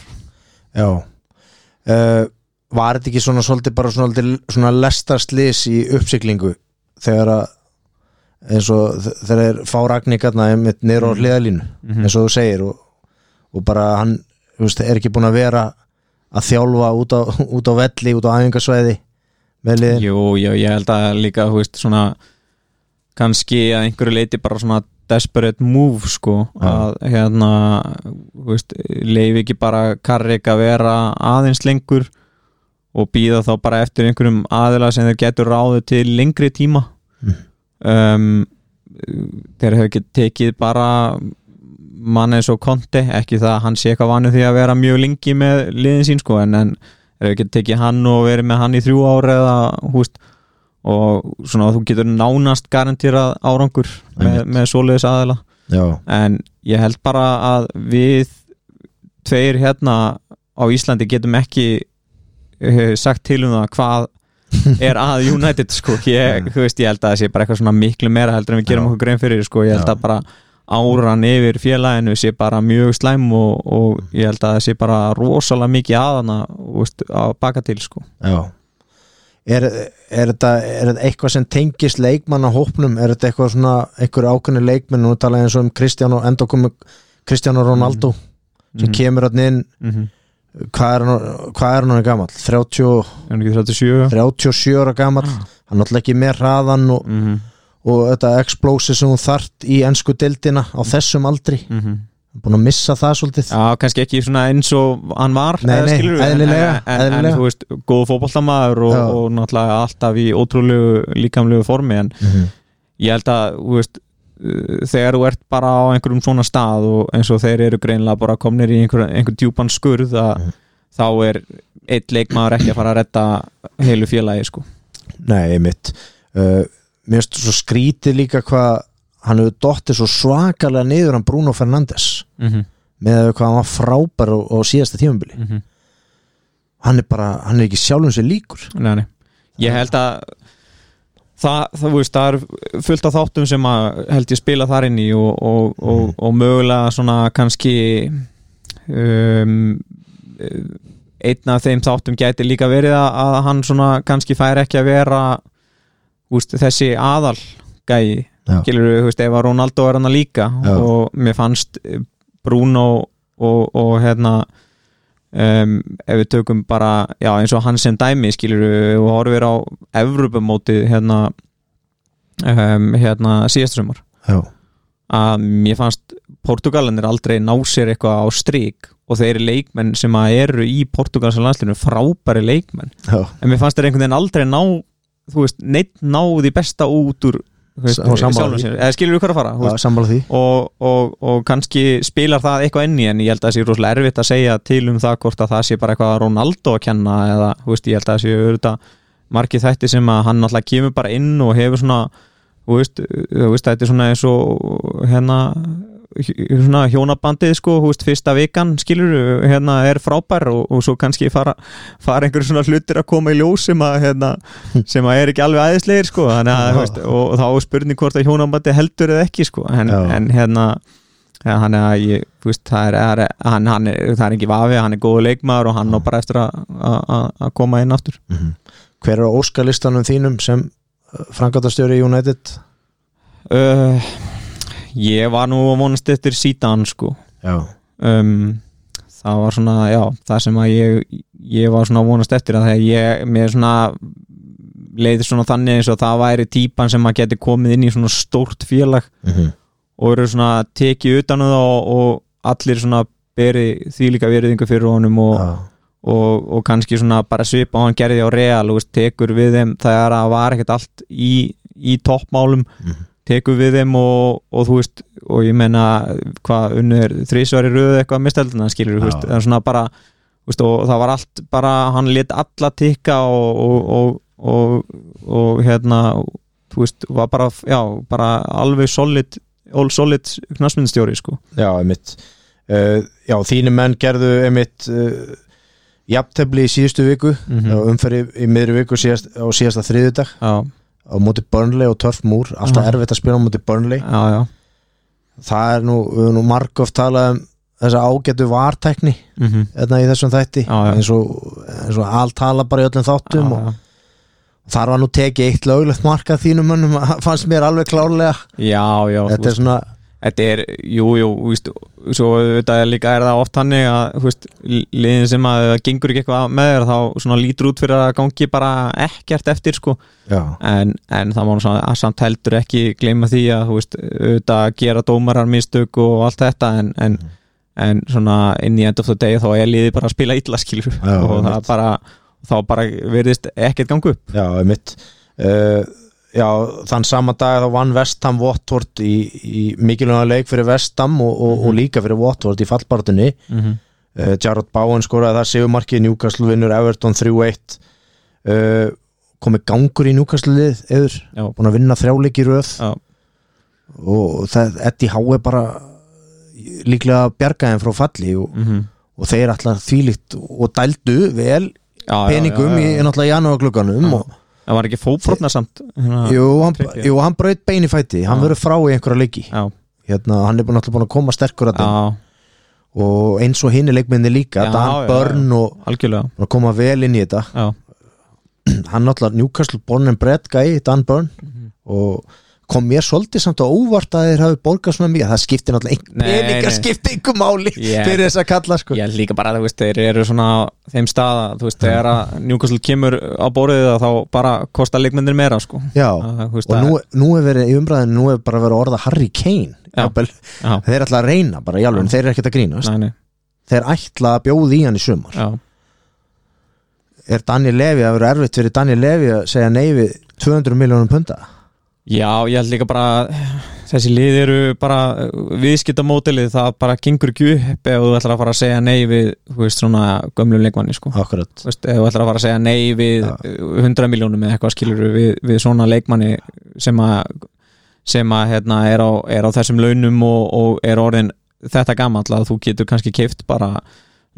Já uh, Var þetta ekki svona svolítið bara svona, svolítið- svona lestaslis í uppsiklingu þegar að eins og þ- þegar þeir fá ragningarna einmitt niður á
Mhm.
hliðalínu eins og þú segir og, og bara hann þú veist, er ekki búin að vera að þjálfa út á, <laughs> út á velli, út á æfingasvæði með liðin
Jú, jú, ég held að líka þú veist, svona, kannski að einhverju leiti bara svona desperate move sko,
Já.
að hérna þú veist, leifi ekki bara Karrik að vera aðeins lengur og býða þá bara eftir einhverjum aðila sem þeir getur ráðu til lengri tíma um, þeir hefur ekki tekið bara mann eins og konti, ekki það að hann sé eitthvað vanu því að vera mjög lengi með liðin sín sko, en, en þeir hefur ekki tekið hann og verið með hann í þrjú ára eða húst og svona þú getur nánast garantýrað árangur með,
Einmitt.
með svoleiðis aðeila
já,
en ég held bara að við tveir hérna á Íslandi getum ekki eh, sagt til um það
<laughs>
hvað er að United sko ég,
Nei.
þú veist, ég held að það sé bara eitthvað svona miklu meira heldur en við gerum
Já.
okkur grein fyrir sko, ég held
Já.
að bara áran yfir félaginu sé bara mjög slæm og, og ég held að það sé bara rosalega mikið aðana veist, að baka til sko
já. Er, er, þetta, er þetta eitthvað sem tengist leikmannahópnum, er þetta eitthvað svona einhver ákveðni leikmenn, nú talaði eins og um Kristján og enda komu Kristján og Ronaldo sem
Mhm,
kemur hann inn
mhm.
hvað er hann, hvað er hann gammal? 30,
Er hann ekki 37?
37 ára gammal hann er náttúrulega ekki með hraðan og,
Mm -hmm.
og þetta explosive sem hún þart í ennsku deildina á þessum aldri
Mm -hmm.
búin að missa það svolítið
Já, kannski ekki svona eins og hann var
Nei,
eða
nei,
skilurðu, en-
eðlilega,
en, en,
eðlilega.
en þú veist, góð fótboltamaður og,
Já.
og náttúrulega alltaf í ótrúlegu líkamlegu formi en
mm -hmm.
ég held að þú veist, uh, þegar þú ert bara á einhverjum svona stað og eins og þeir eru greinlega bara komnir í einhver, einhver djúpan skurð að
Mhm.
þá er eitt leikmaður ekki að fara að redda heilu félagi sko
Nei, einmitt uh, Mér finnst svo skrítið líka hvað hann hefur dottið svo svakalega niður hann Bruno Fernandes
mm -hmm.
með hvað hann var frábær á, á síðasta tímabili
Mm -hmm.
hann er bara, hann er ekki sjálfum sér líkur
Nei, nei. Ég held að það, það, veist, það er fullt af þáttum sem að held ég spila þar inn í og, og, og, og mögulega svona kannski um, eh, einn af þeim þáttum gæti líka verið að, að hann svona kannski fær ekki að vera úst, þessi aðal gæi
Já.
skilur við, veist, ef að Ronaldo er hann líka
Já.
og mér fannst eh, Bruno og, og hérna um, ef við tökum bara já, eins og hann sem dæmi skilur við og horfir á Evrópumótið hérna um, hérna síðasta sumar
Já,
að mér fannst Portugalanir aldrei ná sér eitthvað á strik og þeir eru leikmenn sem að eru í portugalsa landslinu frábæri leikmenn
já
en mér fannst þeir einhvern veginn aldrei ná þú veist, neitt ná því besta út úr þú veist,
Sá- sammála
sjálfum
því.
sér, eða skilur við hvað er að fara þú veist?
Já, sammála því
og, og, og kannski spilar það eitthvað inn í en ég held að það sé rosalega erfitt að segja til um það hvort að það sé bara eitthvað að Ronaldo að kenna eða þú veist, ég held að það sé auðvitað margir þætti sem að hann alltaf kemur bara inn og hefur svona þú veist, þú veist þetta er svona eins og hérna hj- svona hjónabandið sko, þú veist, fyrsta vikan skilur, hérna er frábær og, og svo kannski fara, fara einhverjum svona hlutir að koma í ljós sem að hérna, sem að er ekki alveg aðeinslegir sko, þannig að,
Já.
þú veist, og þá er spurning hvort að hjónabandi heldur eða ekki sko, en,
Já.
en hérna ja, hann er að ég, þú veist, það er, er hann, hann er, það er ekki vafi, hann er góðu leikmaður og hann á bara eftir að- að að- að koma inn aftur
Mhm. Hver er á óskalistanum þínum sem frangatastjóri í United?
uh, ég var nú að vonast eftir sítan sko
Já,
um, það var svona, já, það sem að ég, ég var svona að vonast eftir að þegar ég, mér svona leiði svona þannig eins og það væri típan sem að geti komið inn í svona stórt félag
mm -hmm.
og eru svona tekið utan um það og, og allir svona beri því líka veriðingu fyrir honum og, og, og kannski svona bara svipa og hann gerði á real og tekur við þeim þegar að var ekkert allt í, í toppmálum
Mhm.
tekur við þeim og, og þú veist og ég meina hvað unnur þrísværi röðu eitthvað misteldina skilur þú veist
Já.
en svona bara þú veist, og það var allt bara hann let alla tikka og og, og, og, og hérna þú veist var bara já bara alveg solid all solid knastmyndstjóri sko
Já, einmitt uh, Já, þínu menn gerðu einmitt uh, jafntefli í síðustu viku
mm
mm. umferði í miðri viku síðast, á síðasta þriðudag
já
á móti Burnley og Turf Moor alltaf
Mhm.
erfitt að spila á móti Burnley
já já
það er nú, við höfum nú margóft talað um þessa ágætu vartækni
mm -hmm.
hérna í þessum þætti
Já, já.
eins og, eins og allt tala bara í öllum þáttum og þar var nú tekið eitt löglegt markað þínum mönnum <laughs> fannst mér alveg klárlega
já já þú
þetta er svona,
þetta er, jú, jú, víst, svo auðvitað er líka er það oft hannig að þú veist, liðin sem að það gengur ekki eitthvað með þér þá svona lítur út fyrir að það gangi bara ekkert eftir sko
já,
en, en það má nú samt, samt heldur ekki gleyma því að þú veist, auðvitað gera dómarar mistök og allt þetta en, en,
Mhm.
en svona inn í end of the day þá er liðið bara að spila illa skilur
Já,
og það
einmitt.
bara, þá bara verðist ekkert gangu upp
já, einmitt uh, já, þann sama dag þá vann Vestham Votvort í, í mikilvæga leik fyrir Vestham og, og, og líka fyrir Votvort í fallbartunni
mm -hmm.
Eh, uh, Jarrod Bowen skoraði það sigumarkið Newcastle vinnur Everton 3-1 uh, komið gangur í núkastlið eður,
Já.
búin að vinna þrjáleik í röð
Já.
og það, Eddie Há er bara líklega bjargaðin frá falli og,
mm -hmm.
og þeir allar þvílíkt og dældu vel
já,
peningum
já, já,
um í
já.
náttúrulega janúarglugganum
Já.
og
það var ekki fótbrotna samt hérna,
jú, hann,
Tryggvi.
jú, hann braut bein í fæti hann
Já.
verður frá í einhverja leiki
já,
hérna, hann er búin náttúrulega búin að koma sterkur að
já,
þeim og eins og hinn er leikminni líka
Já,
Dan
já,
Börn og
algjörlega
búin að koma vel inn í þetta
já,
hann náttúrulega Newcastle born and bred gæi Dan Byrne
Mhm.
og kom mér svolítið samt á óvart að þeir hafi borgað svona mjög, það skiptir náttúrulega ein...
Nei, nei.
peningar skipti ykkur máli
<laughs> Yeah.
fyrir þess að kalla sko
ég held líka bara að þú veist þeir eru svona á þeim staða, þú veist þegar að Newcastle kemur á borðið að þá bara kosta leikmyndir meira sko
Já,
Að, þú veist,
og
að-
nú, nú er verið í umræðinu, nú er bara verið að orða Harry Kane
Já.
Jafnvel,
já,
þeir ætla að reyna bara, jálfur, þeir eru ekkert að grínast
næni,
þeir ætla að bjóða í hann í sumar
já,
er Daniel Levy að vera erfitt fyrir Daniel Levy að segja nei við 200 miljónum punda
já, ég held líka bara að þessi lið eru bara viðskiptamótilið, það bara gengur ekki upp ef þú ætlar að fara að segja nei við þú veist svona gömlum leikmanni sko
Akkurat,
Þú veist, ef þú ætlar að fara að segja nei við
Já.
eh, 100 miljónum eða eitthvað skilur við, við svona leikmanni sem að sem að hérna er á, er á þessum launum og, og er orðin þetta gamall að þú getur kannski keift bara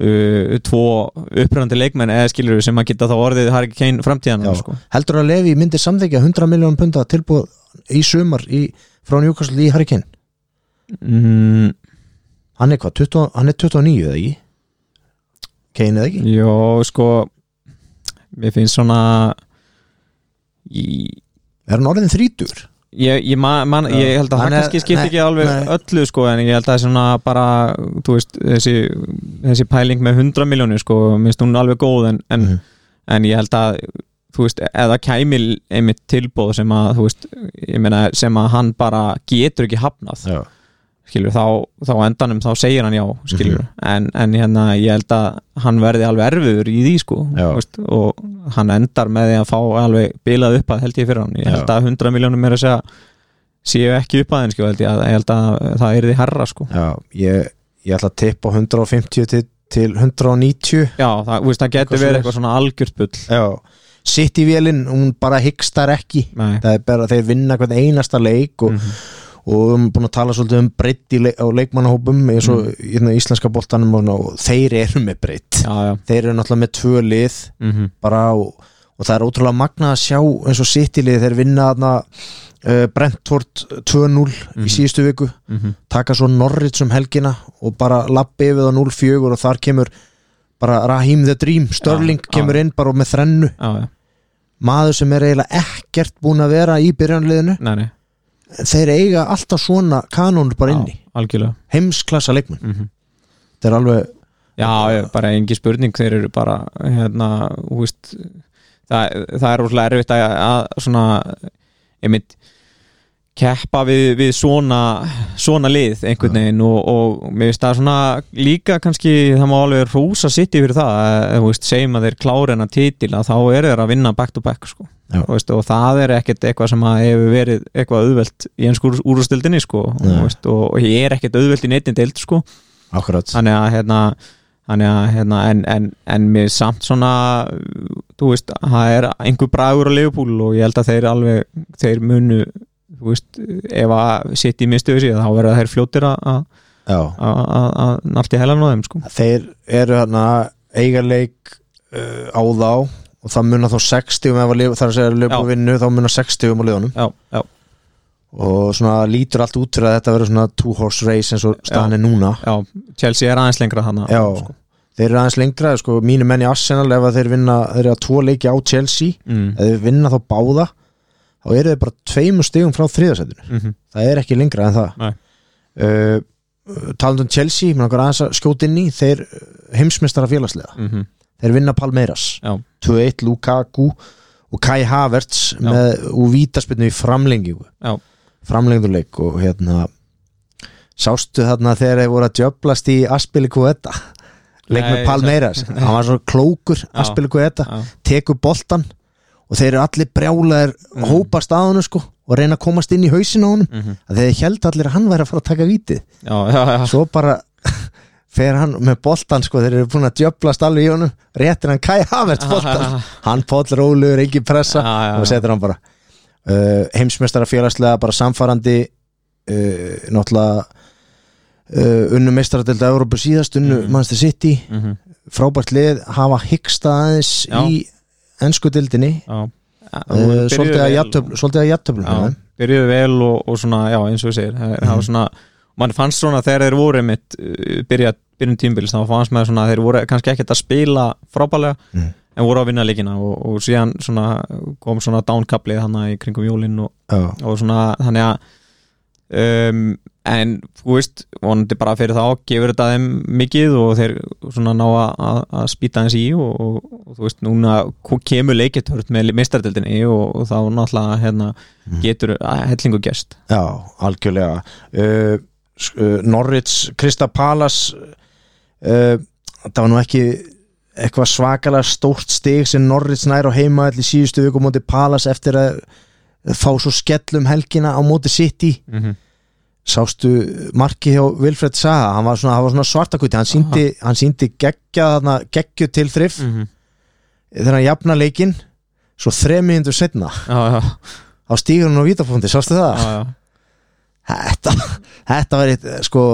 uh, tvo uppröndi leikmenn eða skilur sem að geta þá orðið Harry
Já.
Kane framtíðan sko.
heldur að Levy myndir samþykja 100 miljónum punda tilbúð í sumar í, frá Newcastle í Harry Kane
mm,
hann er hvað, 20, hann er 29 eða ekki Kane eða ekki
Jó, sko mér finnst svona ég,
er hann orðin 30
ég, ég, man, man, ég held að
Hann
það
er-
kannski skipti
nei,
ekki alveg
nei.
öllu sko en ég held að það er svona bara þú veist, þessi, þessi pæling með 100 miljónir sko, minnst hún alveg góð en, en,
Mhm.
en ég held að þú veist, eða kæmi einmitt tilbóð sem að, þú veist, ég meina sem að hann bara getur ekki hafnað
já.
skilur, þá, þá á endanum þá segir hann já, skilur,
Mhm.
en, en hérna ég held að hann verði alveg erfiður í því sko,
Já.
þú veist, og hann endar með því að fá alveg bilað upp að held ég fyrir hann, ég
Já.
held að 100 miljónum er að segja séu ekki upp að henn, sko, held ég að, ég held að það er því herra, sko
Já, ég, ég ætla að tippa 150 til, til 190
já, það, þú veist, það getur
Eitthvað
verið
svoleiðis.
eitthvað svona algjört bull
já. sitt í vélinn, hún bara hyggstar ekki
nei,
það er bara, þeir vinna hvern einasta leik og,
Mhm.
og við erum búin að tala svolítið um breytt leik, á leikmannahópum eins og mm. íslenska boltanum og, svona, og þeir eru með breytt
já, já
þeir eru náttúrulega með tvö lið
mm -hmm.
bara og, og það er ótrúlega magna að sjá eins og sittilið þeir vinna þarna uh, Brentford 2-0
Mhm.
í síðustu viku taka svo Norrits um helgina og bara lappi yfir það 0-4 og þar kemur bara Raheem the Dream Störling
já.
kemur inn bara með þrennu
já, já,
maður sem er eiginlega ekkert búin að vera í byrjanliðinu
nei, nei,
þeir eiga alltaf svona kanónur bara inni
já, algjörlega
heimsklassa leikmenn,
mm -hmm.
þetta er alveg
Já, já, bara engi spurning þeir eru bara hérna, þú veist, það, það er úrlega erfitt að, að svona einmitt keppa við, við svona, svona lið einhvern veginn og, og mér finnst það svona líka kannski það má alveg rúsa sitt yfir það eh, þú veist, segjum að þeir klára hennar titil að þá eru þeir að vinna back to back sko.
Já.
Þú veist, og það er ekkert eitthvað sem að hefur verið eitthvað auðvelt í enn skúr úrstildinni sko, og,
Nei.
þú veist, og, og ég er ekkert auðvelt í neittinn deild sko
akkurat
þannig að hérna, þannig að hérna en, en, en mér samt svona þú veist, það er einhver bragur á Liverpool og ég held að þeir alveg þeir munu, þú veist ef að sitt í minnstu þessi þá verða þeir fljótir að- að
já.
að- að- að nátt í helan á þeim sko
þeir eru hérna eigarleik uh, á þá og það muna þá 60 ef að lifa, þar að segja löpu
Já.
vinnu þá muna 60 um á liðunum
já, já,
og svona lítur allt út fyrir að þetta verður svona two horse race eins og staðan er núna
já, Chelsea er aðeins lengra hana
já,
sko.
þeir eru aðeins lengra sko, mínu menn í Arsenal ef að þeir vinna þeir eru að tvo leiki á Chelsea
mm.
ef þeir vinna þá báða þá eru þeir bara tveimur stigum frá þriðasettinu
Mm
það er ekki lengra en það
Nei.
uh, talandum Chelsea, mér langar aðeins að skjóta inn í þeir heimsmestara félagslega
Mm
þeir vinna Palmeiras
Já.
2-1 Lukaku og Kai Havertz
Já.
með, og vítaspinnu í framlengingu
Já.
framlengduleik og hérna sástu þarna þegar þeir voru að djöblast í Aspilicueta leik
Nei,
með
ég <laughs>
Palmeiras hann var svona klókur Aspilicueta
já,
tekur boltan og þeir eru allir brjálaðir
Mm.
hópast að honum sko og reyna að komast inn í hausin á honum
mhm.
að þeir held allir að hann væri að fara að taka vítið
já, já, já,
svo bara <laughs> fer hann með boltan sko þeir eru búin að djöblast alveg í honum réttir hann Kai Havertz boltan
<laughs> Ah,
hann Páll Róluður, engin pressa
Já, já,
og
já.
setur hann bara uh, heimsmeistara félagslega bara samfarandi uh, náttúrulega uh, unnu meistaradeld að Európu síðast unnu
Mhm.
Manchester City,
Mhm.
frábært lið hafa hyggstað aðeins
Já.
í ennsku dildinni
Já.
uh,
Byrjuðu
svolítið að
vel.
jafntöfl- svolítið að jafntöflum
Já, byrjuðu vel og, og svona, já, eins og við segir það það var svona, mann fannst svona þegar þeir voru mitt, byrja, byrjun tímbils þá fannst maður svona að þeir voru kannski ekkert að spila frábælega,
Mhm.
en voru að vinna leikina og, og síðan svona kom svona dánkaplið hann í kringum jólinn og,
Já.
og svona, þannig að um, en, þú veist vonandi bara fyrir þá, gefur þetta þeim mikið og þeir svona ná að- að að spýta hans í og, og, og þú veist, núna ko- kemur leikitört með mistardildinni og, og þá náttúrulega hérna,
Mhm.
getur að hellingu gest
Já, algjörlega uh, s- uh, Norrits, Krista Palas uh, það var nú ekki eitthvað svakalega stórt stig sem Norrits nær á heima allir síðustu viku á móti Palas eftir að fá svo skellum helgina á móti City
mm -hmm.
sástu marki hjá Vilfred Saha hann var svona, hann var svona svartakuti hann síndi, hann síndi geggja, þarna, geggju til þrif
Mm.
þegar hann jafna leikinn svo þremiðindu setna
já,
<laughs>
já,
á stígur hann á vítapunkti, sástu það?
já, já.
þetta, þetta var eitt sko,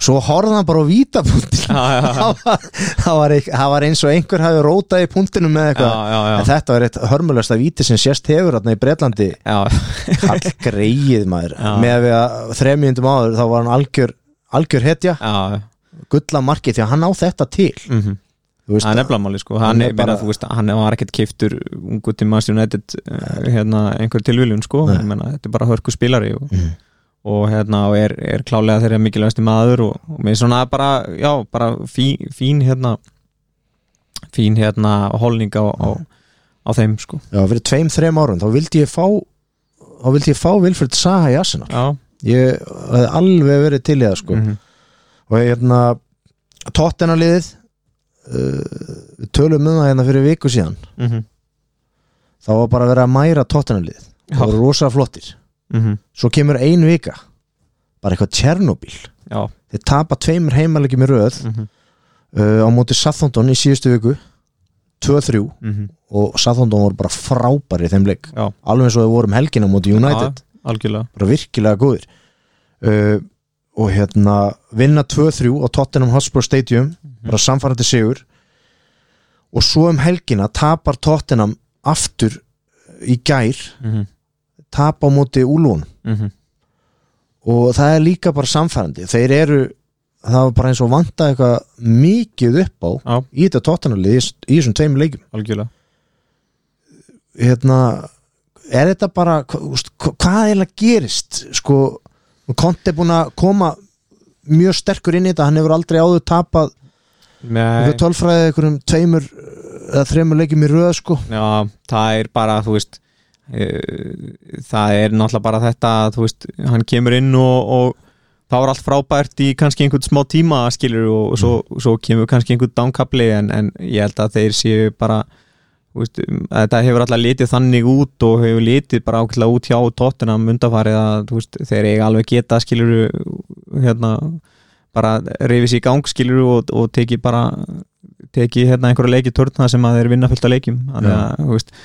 svo horfði hann bara á
<laughs>
vítapunktin
Já, já, já.
það var, það var, eik- það var eins og einhver hafi rótað í punktinu með
Já,
eitthvað
já, já.
en þetta var eitt hörmulegsta víti sem sést hefur hérna í Bretlandi
Já, <laughs>
all greið maður
Já.
með að við að þremjöndum áður þá var hann algjör, algjör hetja
já, já.
gulla markið því að hann á þetta til
Mhm.
þú veist
Það er nefnilega máli sko, hann,
Hann er
er, bara,
bara-
þú veist, hann var ekkert keiftur ungu til Manchester United eh, hérna, einhver tilviljun sko,
Nei.
Ég meina, þetta er bara hörku spilari og,
Mhm.
og, hérna, og er, er klálega þeirra mikilvægasti maður og, og með svona bara, já, bara fín, fín hérna fín hérna holning á, á, á þeim sko
já, fyrir tveim, þreim árum þá vildi ég fá þá vildi ég fá Vilfred Saha í Arsenal
Já,
ég hafði alveg verið til í það sko
mhm.
og hérna tóttina liðið uh, við tölum um það hérna fyrir viku síðan
Mhm.
þá var bara að vera að mæra tóttina liðið það voru rosa flottir
Mhm.
svo kemur ein vika bara eitthvað Tjernobyl
já,
þeir tapa tveimur heimalegjum í röð
mhm.
uh, á móti Sathondon í síðustu viku 2-3
Mhm.
og Sathondon voru bara frábæri í þeim leik
Já.
alveg eins og þau voru um helgina á móti United
Já, algjörlega
bara virkilega góðir uh, og hérna vinna 2-3 á Tottenham Hotspur Stadium bara samfærandi sigur og svo um helgina tapar Tottenham aftur uh, í gær
Mhm.
tapa á móti úlun
Mhm.
og það er líka bara samfærandi þeir eru, það var bara eins og vanta eitthvað mikið upp á
Já,
í þetta Tottenham lið í- í þessum tveim leikum
algjörlega
hérna er þetta bara, hva- þú veist, hva- hvað er að gerist sko, Konti er búin að koma mjög sterkur inn í þetta, hann hefur aldrei áður tapað
Nei,
einhver tölfræði einhverjum tveimur eða þreimur leikjum í röð sko
já, það er bara, þú veist eh, það er náttúrulega bara þetta að, þú veist, hann kemur inn og, og það var allt frábært í kannski einhvern smá tíma, skilur og svo, svo kemur kannski einhvern dánkapli en, en ég held að þeir séu bara þú veist, um, að þetta hefur alltaf litið þannig út og hefur litið bara ákveðlega út hjá tóttina mundafarið að þú veist, þeir eiga alveg geta skilur hérna, bara reyfis í gang skilur og, og teki bara teki hérna einhverja leiki törna sem að þeir vinna fullt af leikjum þannig að þú veist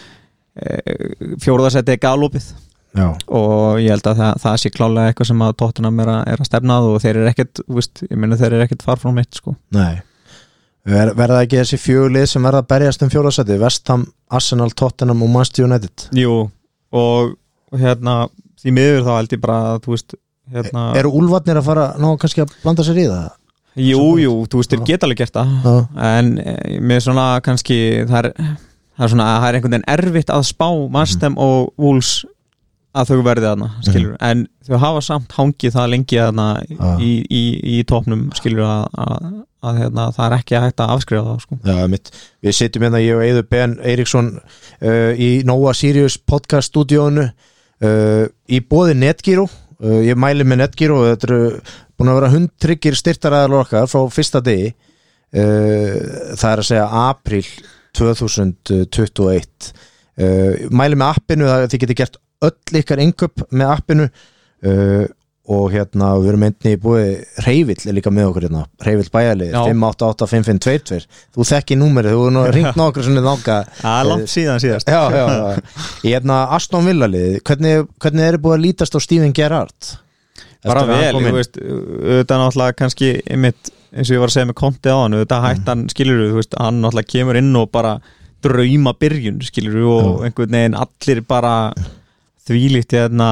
fjórðarsætti er galopið
já,
og ég held að það, það sé klálega eitthvað sem að tóttunum er, að- er að stefnað og þeir eru ekkert, þú veist, ég meina þeir eru ekkert far frá mitt sko.
nei Ver, verða ekki þessi fjögulið sem verða að berjast um fjóðarsæti Vestham, Arsenal, Tottenham og Manchester United
Jú, og hérna því miður þá held ég bara að þú veist hérna,
eru úlvarnir að fara ná kannski að blanda sér í það
jú, jú, þú veist, þeir
Já.
geta alveg gert það
já,
en eh, mér er svona kannski það er, það er svona það er einhvern veginn erfitt að spá Mastem og Wolves að þau verði þarna, skilur en þau hafa samt hangið það lengi þarna
Já.
í, í, í topnum, skilur að, að, að hérna, það er ekki hægt að afskrifa það sko.
já mitt, við sitjum hérna ég og Eiður Ben Eiríksson uh, í Nóa Sirius podcast stúdíónu uh, í bóði Netgyro uh, ég mæli með Netgyro þetta eru búin að vera hundtryggir styrtaraðar okkar frá fyrsta degi uh, það er að segja april 2021 uh, mæli með appinu það þið getið gert öll ykkar inköp með appinu uh, og hérna við erum einnig í búið Reyvill er líka með okkur hérna Reyvill bæjarlið,
Já.
588-5522 þú þekki númerið, þú er nú ringt nokkur svona þanga
Það er
Eh,
langt síðan síðast
já, já, já. Í hérna Aston Villa lið hvernig, hvernig er búið að lítast á Steven Gerrard Eftir að
bara
hann
vel,
kom
þú
inn?
veist auðvitað náttúrulega kannski einmitt, eins og ég var að segja með konti á hann auðvitað hættan mm. skilur þú veist, hann náttúrulega kemur inn og bara drauma byrjun skilur og einhvern veginn allir bara þvílíkt hérna,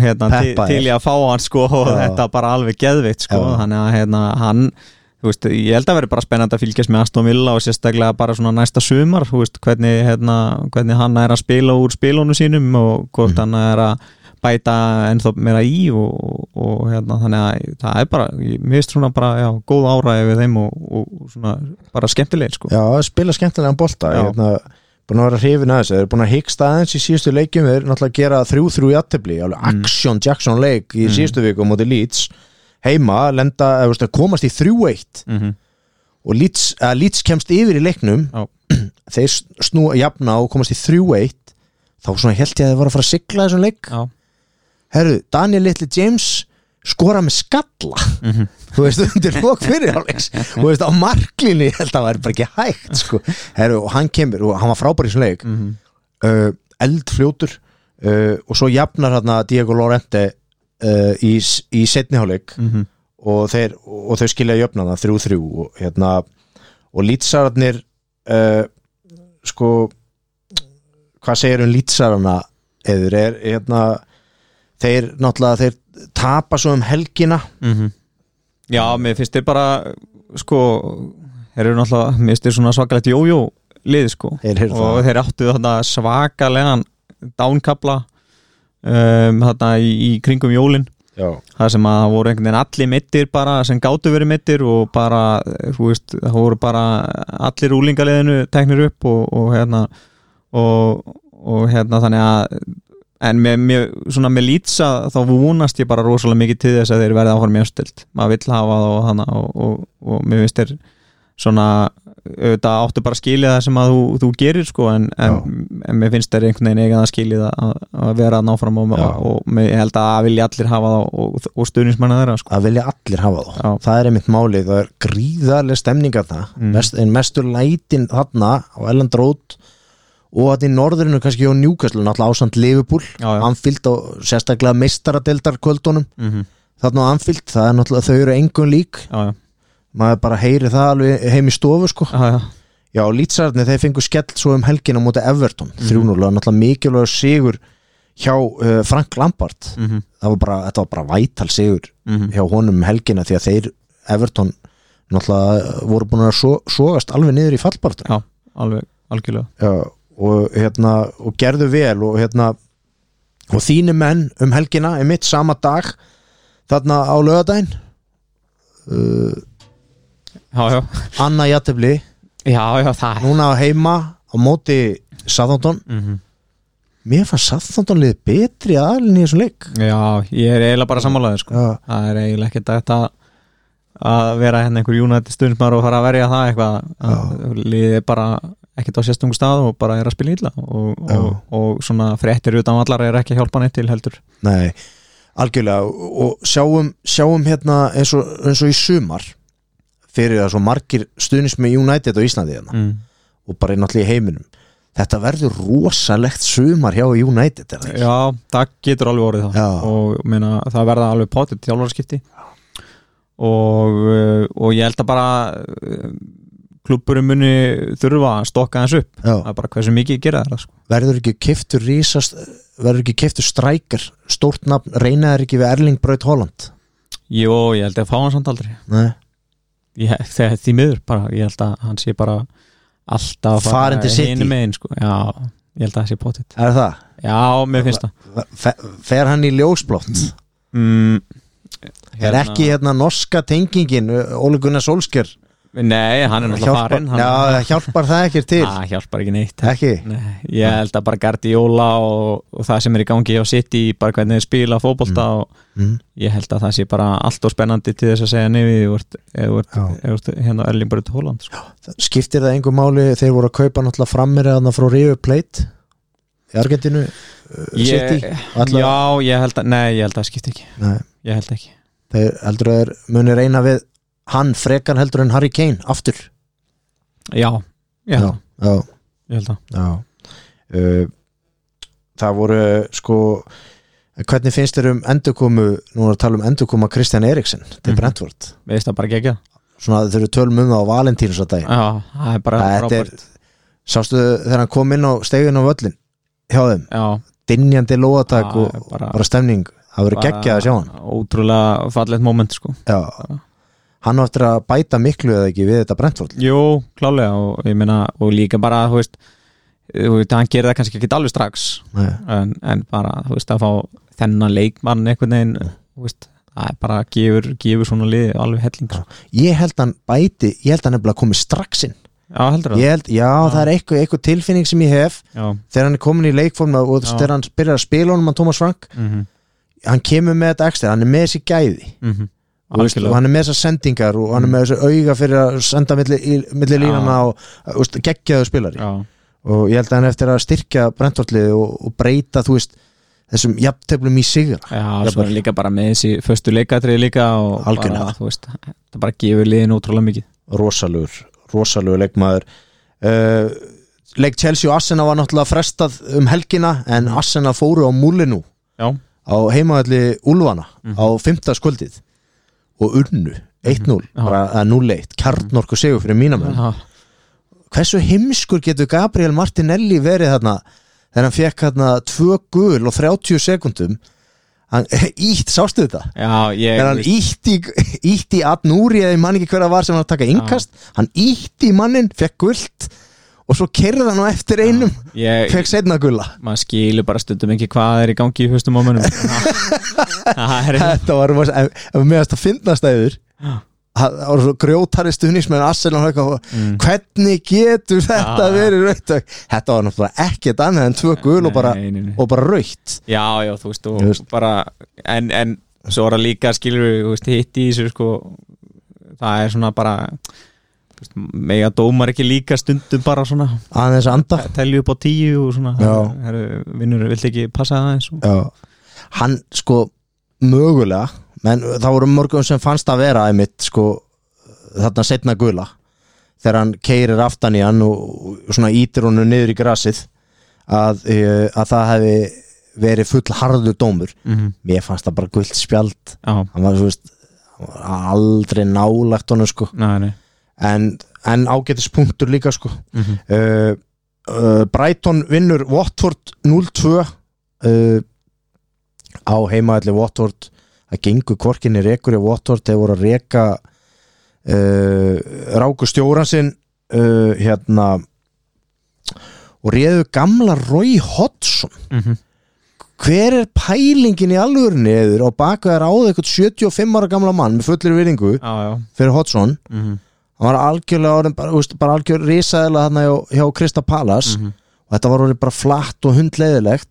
hérna til,
Peppa er.
til ég að fá hann sko og
Já.
þetta bara alveg geðveikt sko
Já.
þannig að hérna, hann þú veist, ég held að vera bara spennandi að fylgjast með Aston Villa og sérstaklega bara svona næsta sumar þú veist, hvernig, hérna, hvernig hann er að spila úr spilunum sínum og hvort hann er að bæta ennþá meira í og, og hérna, þannig að það er bara, ég mist svona bara já, góð áræði við þeim og, og svona bara skemmtilegir sko.
Já, spila skemmtilegan bolta
Já.
hérna, búin að vera hrifin að þessu þeir eru búin að hyggsta aðeins í síðustu leikjum þeir eru náttúrulega að gera þrjú-þrjú í aðtefli alveg
Mm.
action Jackson leik í síðustu viku á móti Leeds heima, lenda, eða, veist, komast í 3-1
mm -hmm.
og Leeds, að Leeds kemst yfir í leiknum
Já.
þeir snúa jafna og komast í 3-1 þá svona held ég að þeir voru að fara að sigla þessum leik
Já.
herru, Daniel Little James skora með skalla þú veist, undir lók fyrir áleiks þú veist, á marklinni, ég held að það væri bara ekki hægt sko, herru, og hann kemur og hann var frábær í svona leik
Mm -hmm.
uh, eldfljótur uh, og svo jafnar hérna Diego Lorente uh, í, s- í setniháleik og, þeir, og þau skilja jöfnana 3-3 og hérna og lýtsararnir uh, sko hvað segir um lýtsararna eður er hérna þeir náttúrulega þeir tapa svo um helgina
Já, mér finnst þið bara sko, þeir eru náttúrulega mér finnst þið svona svakalegt jójó lið sko
Þeir eru
og
það.
þeir áttu þarna svakalegan dánkabla um, þarna í, í kringum jólin
já,
það sem að það voru einhvern veginn allir mittir bara sem gátu verið mittir og bara þú veist, það voru bara allir úlingaliðinu teknir upp og, og hérna og, og hérna þannig að en með, með, svona með lýtsa þá vonast ég bara rosalega mikið til þess að þeir verði áfram mjöstilt, maður vill hafa það og, hana, og, og, og mér finnst þeir svona, auðvitað áttu bara skilið það sem að þú, þú gerir sko en, en, en mér finnst þeir einhvern veginn eiga það skilið að, að vera að ná fram og,
Já.
og, og mér- ég held að það vilja allir hafa það og, og stuðnismanna þeirra sko
að vilja allir hafa þá
Já.
það er einmitt málið, það er gríðarlega stemninga það,
Mm.
Mest, en mestur lætin þarna á Elland Road og að í norðurinu kannski á Newcastle náttúrulega ásand Liverpool,
Já, já.
Anfield og sérstaklega meistaradeldar kvöldunum
mm -hmm.
þarna á Anfield, það er náttúrulega þau eru engum lík,
Já, já,
maður bara heyri það alveg heim í stofu sko
já, já,
Já, lýtsararnir, þeir fengu skell svo um helgina á móti Everton,
Mhm.
3-0 og náttúrulega mikilvægur sigur hjá uh, Frank Lampard
mm -hmm.
það var bara, þetta var bara vætal sigur
Mm -hmm.
hjá honum um helgina því að þeir Everton náttúrulega voru búin að so, sogast alveg niður í fallbarta
já alveg, algjörlega
og hérna og gerðu vel og hérna og þínu menn um helgina er mitt sama dag þarna á lögadaginn uh,
Já, já,
Anna Jatefli
já, já, það
núna heima á móti Southampton
mm -hmm.
mér fannst Southampton liðið betri aðalinn í þessum leik
Já, ég er eiginlega bara sammálaðið sko
Já,
það er eiginlega ekkert að þetta að vera hérna einhver United stundsmaður og fara að verja það eitthvað að liðið er bara ekkert á sérstungu stað og bara er að spila illa og,
Já.
og, og svona fréttir utan vallar er ekki að hjálpa neitt til heldur
Nei, algjörlega og og sjáum, sjáum hérna eins og, eins og í sumar fyrir það svo margir stuðnist með United á Íslandi hérna
mm.
og bara náttúrulega í heiminum þetta verður rosalegt sumar hjá United er það ekki?
Já, það getur alveg orðið það
Já.
og meina, það verða alveg potið þjálfarskipti og, uh, og ég held að bara klubburum muni þurfa að stokka hans upp
Já.
það er bara hversu mikið gera þetta sko.
verður ekki kiftur rísast verður ekki kiftur strækir stórt nafn, reynaður ekki við Erling Braut Holland
Jó, ég held að fá hans samt aldrei
Nei,
ég, þegar því miður bara, ég held að hann sé bara alltaf að fara
Farinn til City.
hinum megin sko. já, ég held að það sé potið
er það?
já, mér finnst það
Fe- Fer hann í ljósblótt?
mm,
Er ekki hérna norska tengingin Óli Gunnar Solskjær
nei, hann er náttúrulega
hjálpar,
farinn
já,
hann,
hjálpar það ekki til?
það hjálpar ekki neitt
Ekki?
Nei, ég held að bara Gardióla og, og það sem er í gangi á City bara hvernig þeir spila fótbolta og
Mm.
ég held að það sé bara allt og spennandi til þess að segja nefið eða þú ert- ef þú ert-
Já.
ef þú ert hérna Erling Brut Holland sko.
Eh, skiptir það einhver máli þeir voru að kaupa náttúrulega frammir eða frá River Plate í Argentinu uh, City
ég,
allavega-
Já, ég held að, nei, ég held að það skipti ekki
Nei.
ég held ekki
þeir heldur að þeir muni reyna við hann frekar heldur en Harry Kane aftur
Já, ég held,
já,
það, ég held það
já. Uh, það voru uh, sko hvernig finnst þér um endurkomu nú er að tala um endurkoma Kristján Eriksson til
Mhm.
Brentford
Við veist það bara gegja
svona þeir eru tölum um það á Valentínus að dag
Já, það er bara
þetta er,
frábært
sástu þegar hann kom inn á stegin á völlin hjá þeim,
Já,
dinjandi lóatak
Já,
og bara,
bara-
stemning, það verður
bara
geggjað að sjá hann
Ótrúlega fallegt moment sko
já, hann á eftir að bæta miklu eða ekki við þetta Brentford
Jú, klálega og ég meina og líka bara, þú veist, þú veist hann gerir það kannski ekki alveg strax
Nei.
en, en bara, þú veist, að fá þennan leikmann einhvern veginn,
Mm.
þú veist það er bara, gefur, gefur svona liði alveg helling, sko.
ég held hann bæti, ég held hann nefnilega komið strax inn
já, heldur það
ég held, já, það er eitthvað, eitthvað tilfinning sem ég hef
já,
þegar hann er komin í leikform og og
Já.
þegar hann byrjar að spila honum hann Thomas Frank,
mhm, mhm
hann kemur með þetta ekstra, hann er með þessi gæði og, veist, og
algjörlega, Mm.
hann er með þessar sendingar og hann er með þessi auga fyrir að senda milli, í- milli
Já.
línana og uh, veist, geggjaðu spilari
já,
og ég held að hann eftir að styrkja brentvartlið og, og breyta þú veist þessum jafnteflum í sigra
já,
Já,
svo
bara-
er líka bara með þessi föstu leikatrið líka og
Algjörlega.
bara, þú veist, það bara gefur liðin ótrúlega mikið
rosalegur, rosalegur leikmaður uh, leik Chelsea og Assena var náttúrulega frestað um helgina en Assena fóru á múlinu
já,
á heimaðalli Úlfana
Mhm.
á fymtaskvöldið og unnu 1-0,
Mhm. Já.
bara eða 0-1 kjarnorku segur fyrir mínamenn
já,
hversu heimskur getur Gabriel Martinelli verið þarna þegar hann fekk þarna 2 gul og 30 sekundum hann <laughs> ítt, sástu þetta?
já ég,
Þegar hann ítt í, <laughs> ítt í Adnúri eða ég man ekki hverja var sem var að taka innkast hann ítt í mannin, fekk gult og svo kerði hann á eftir einum
ég,
fekk setna gulla <laughs>
maður skilur bara stundum ekki hvað er í gangi í fyrstum ámennum það er
þetta var rosa- ef ef við meðast að finna stæður það var svo grjótari stuðnismenn Arsenal og eitthvað,
Mm.
hvernig getur þetta
Já.
verið rautt þetta var náttúrulega ekkert annað en tvö gul og bara,
Nei, nei, nei.
og bara rautt
já, já, þú veist, og
Þú veist.
bara en, en svo er það líka skilur við, þú veist, hitt í þessu sko, það er svona bara þú veist, mega dómar ekki líka stundum bara svona,
aðeins að anda
telju upp á tíu og svona,
Já.
herru, vinnur vilt ekki passa það eins og,
Já. hann sko mögulega, menn það voru mörgum sem fannst að vera einmitt sko þarna setna gula þegar hann keirir aftan í hann og, og svona ítir honum niður í grasið að, eh, að það hefði verið full harður dómur mér fannst það bara gult spjald
já,
hann var, þú veist, hann var aldrei nálagt honum sko
næ, næ
en, en ágætis punktur líka sko
mm -hmm.
uh, uh, Brighton vinnur Watford 0-2 uh, á heimaðalli Watford það gengur korkinni rekur í Watford þeir voru að reka uh, ráku stjóran sinn uh, hérna og réðu gamla Roy Hodgson
Mhm.
hver er pælingin í alvörinni eður og baka þær áðu eitthvað 75 ára gamla mann með fullir viðingu
já, já
fyrir Hodgson
mm -hmm.
hann var algjörlega orðin bara, úst, bara algjör risaðilega þarna hjá, hjá Krista Palas
Mhm.
og þetta var orðin bara flatt og hundleiðilegt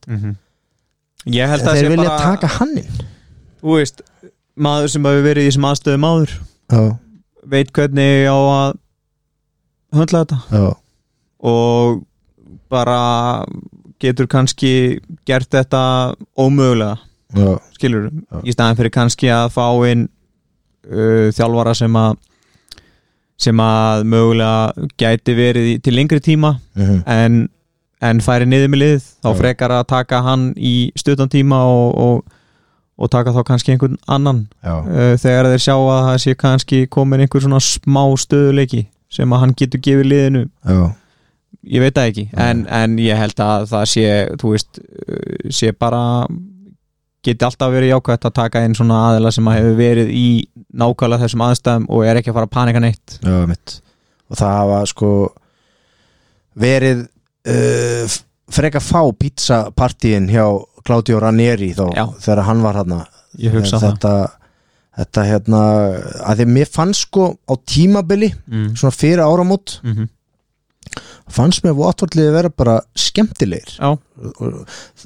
ég held að
Mhm. þeir
sé
vilja
bara
taka hann inn
þú veist, maður sem hefur verið í þessum aðstöðum áður
já,
veit hvernig á að höndla þetta
já,
og bara getur kannski gert þetta ómögulega
já,
skilur,
Já.
í staðan fyrir kannski að fá inn uh, þjálfara sem að sem að mögulega gæti verið í- til lengri tíma
mhm,
en, en færi niður með lið þá
Já.
frekar að taka hann í stuttan tíma og, og, og taka þá kannski einhvern annan
já,
uh, þegar þeir sjá að það sé kannski komin einhver svona smá stöðuleiki sem að hann getur gefið liðinu
já,
ég veit það ekki, en, en ég held að það sé, þú veist uh, sé bara geti alltaf verið jákvæmt að taka inn svona aðila sem að hefur verið í nákvæmlega þessum aðstæðum og er ekki að fara að panika neitt
já, mitt og það hafa sko verið uh, f- frekar fá pizzapartíin hjá Claudio Ranieri þá
Já.
þegar hann var hann
ég hugsa það
þetta, þetta hérna að því mér fannst sko á tímabili
mm.
svona fyrir áramót
Mm
fannst mér Watfordliði vera bara skemmtilegir
Já,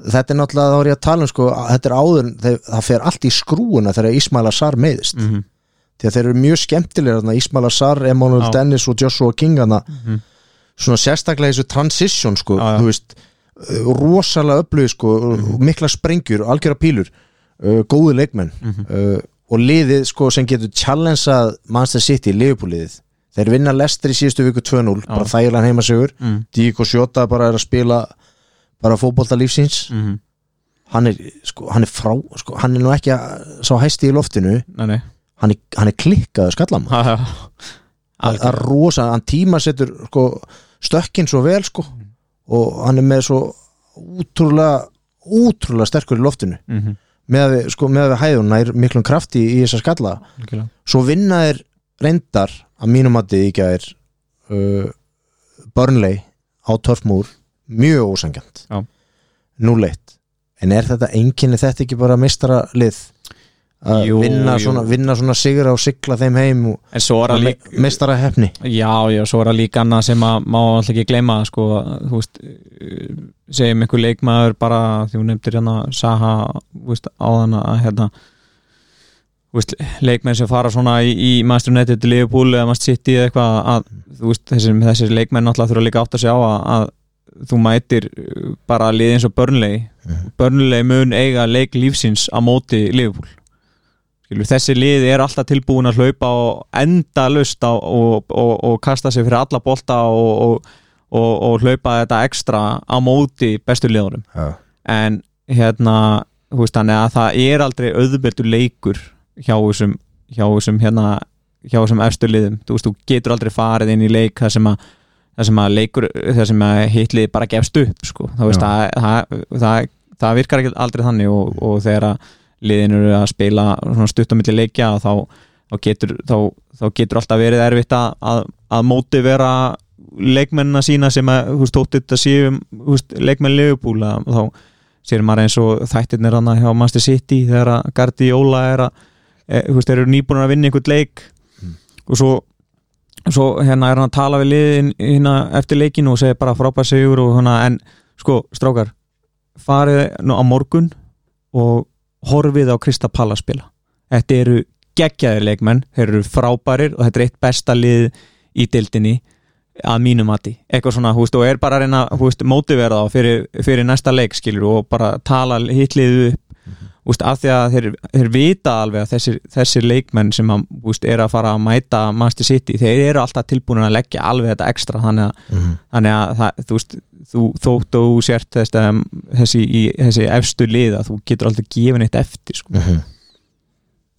þetta er náttúrulega þá er ég að tala um sko, að þetta er áður, þeir, það fer allt í skrúuna þegar Ismaila Sar meðist
mm
því að þeir eru mjög skemmtilegir þarna, Ismaila Sar, Emanuel
Já.
Dennis og Joshua King þarna,
Mhm.
svona sérstaklega þessu transition sko,
Já, Mhm. já.
þú veist uh, rosalega upplöð sko, og mikla sprengjur, algjöra pílur uh, góðu leikmenn
Mhm.
uh, og liðið sko sem getur challengeað Manchester City, Liverpool liðið þeir vinna Leicester í síðustu viku 2-0
Já.
bara þægilegan heimasigur,
Mm.
Dík og Sjóta bara er að spila bara fótbolta lífsins
Mhm.
hann er, sko, hann er frá sko, hann er nú ekki að, sá hæsti í loftinu
Nei, <laughs> nei.
hann er, hann er klikkaður skallam
Ha, ha.
það er rosa, hann tímasettur sko, stökkin svo vel sko, og hann er með svo útrúlega, útrúlega sterkur í loftinu
Mhm.
með að við, sko, með að við hæðun nær miklum krafti í, í þessa skalla
Algjörlega.
svo vinna þeir reyndar að mínum að þið ekki að er uh, Burnley á Törfmúr mjög ósangjant
Já.
núleitt en er þetta enginni þetta ekki bara mistara lið að
Jú,
vinna,
jú.
Svona, vinna svona sigra og sigla þeim heim og
En svo er að líka
mistara hefni
Já, já, svo er það líka annað sem að má alltaf ekki gleyma sko, þú veist eh, segjum einhver leikmaður bara því hún nefndir hérna Saha þú veist, áðan að hérna þú veist, leikmenn sem fara svona í, í Master United, Liverpool eða Master City eða eitthvað að þú veist, þessir, þessir leikmenn náttúrulega þurfa líka átt að sjá að, að þú mætir eh, bara liði eins og Burnley Burnley mun eiga leik lífsins á móti Liverpool Skilur, þessi lið er alltaf tilbúin að hlaupa og enda lust á, og, og, og kasta sig fyrir alla bolta og, og, og, og hlaupa þetta ekstra á móti bestu liðunum
Já.
en hérna þú veist, þannig að það er aldrei auðveldur leikur hjá þessum hjá þessum hérna hjá þessum efstu liðum, þú veist, þú getur aldrei farið inn í leik þar sem að þar sem að leikur, þar sem að hitlið bara gefst upp sko, þú veist,
Já.
það, það, það, það virkar ekki aldrei þannig og, og þegar að liðin eru að spila svona stuttamilli leikja þá, þá, getur, þá, þá getur alltaf verið erfitt að, að, að móti vera leikmennina sína sem að, þú veist, tótt þetta séum, þú veist, leikmenn leifupúla þá sér maður eins og þættirnir hann hjá Master City þegar að Gardi Óla er að e, þú veist, þeir eru nýbúin að vinna einhvern leik og svo, svo hérna er hann að tala við liðin hérna eftir leikinu og segir bara frábær sigur og hérna en sko strákar farið nú á morgun og horfið á Krista Palla spila þetta eru geggjaðir leikmenn þeir eru frábærir og þetta er eitt besta lið í dildinni að mínu mati, eitthvað svona, hú veist, og er bara að reyna, hú veist, mótivera þá fyrir, fyrir næsta leik, skilur, og bara tala hitliðu upp,
Mhm.
hú veist, af því að þeir, þeir vita alveg að þessir, þessir leikmenn sem að, hú veist, er að fara að mæta Master City, þeir eru alltaf tilbúin að leggja alveg þetta ekstra, þannig að,
Mhm.
þannig að það, þú veist, þú þótt og þú sért þess, um, þessi, í, þessi efstu lið að þú getur alltaf gefin eitt eftir, sko.
Mhm.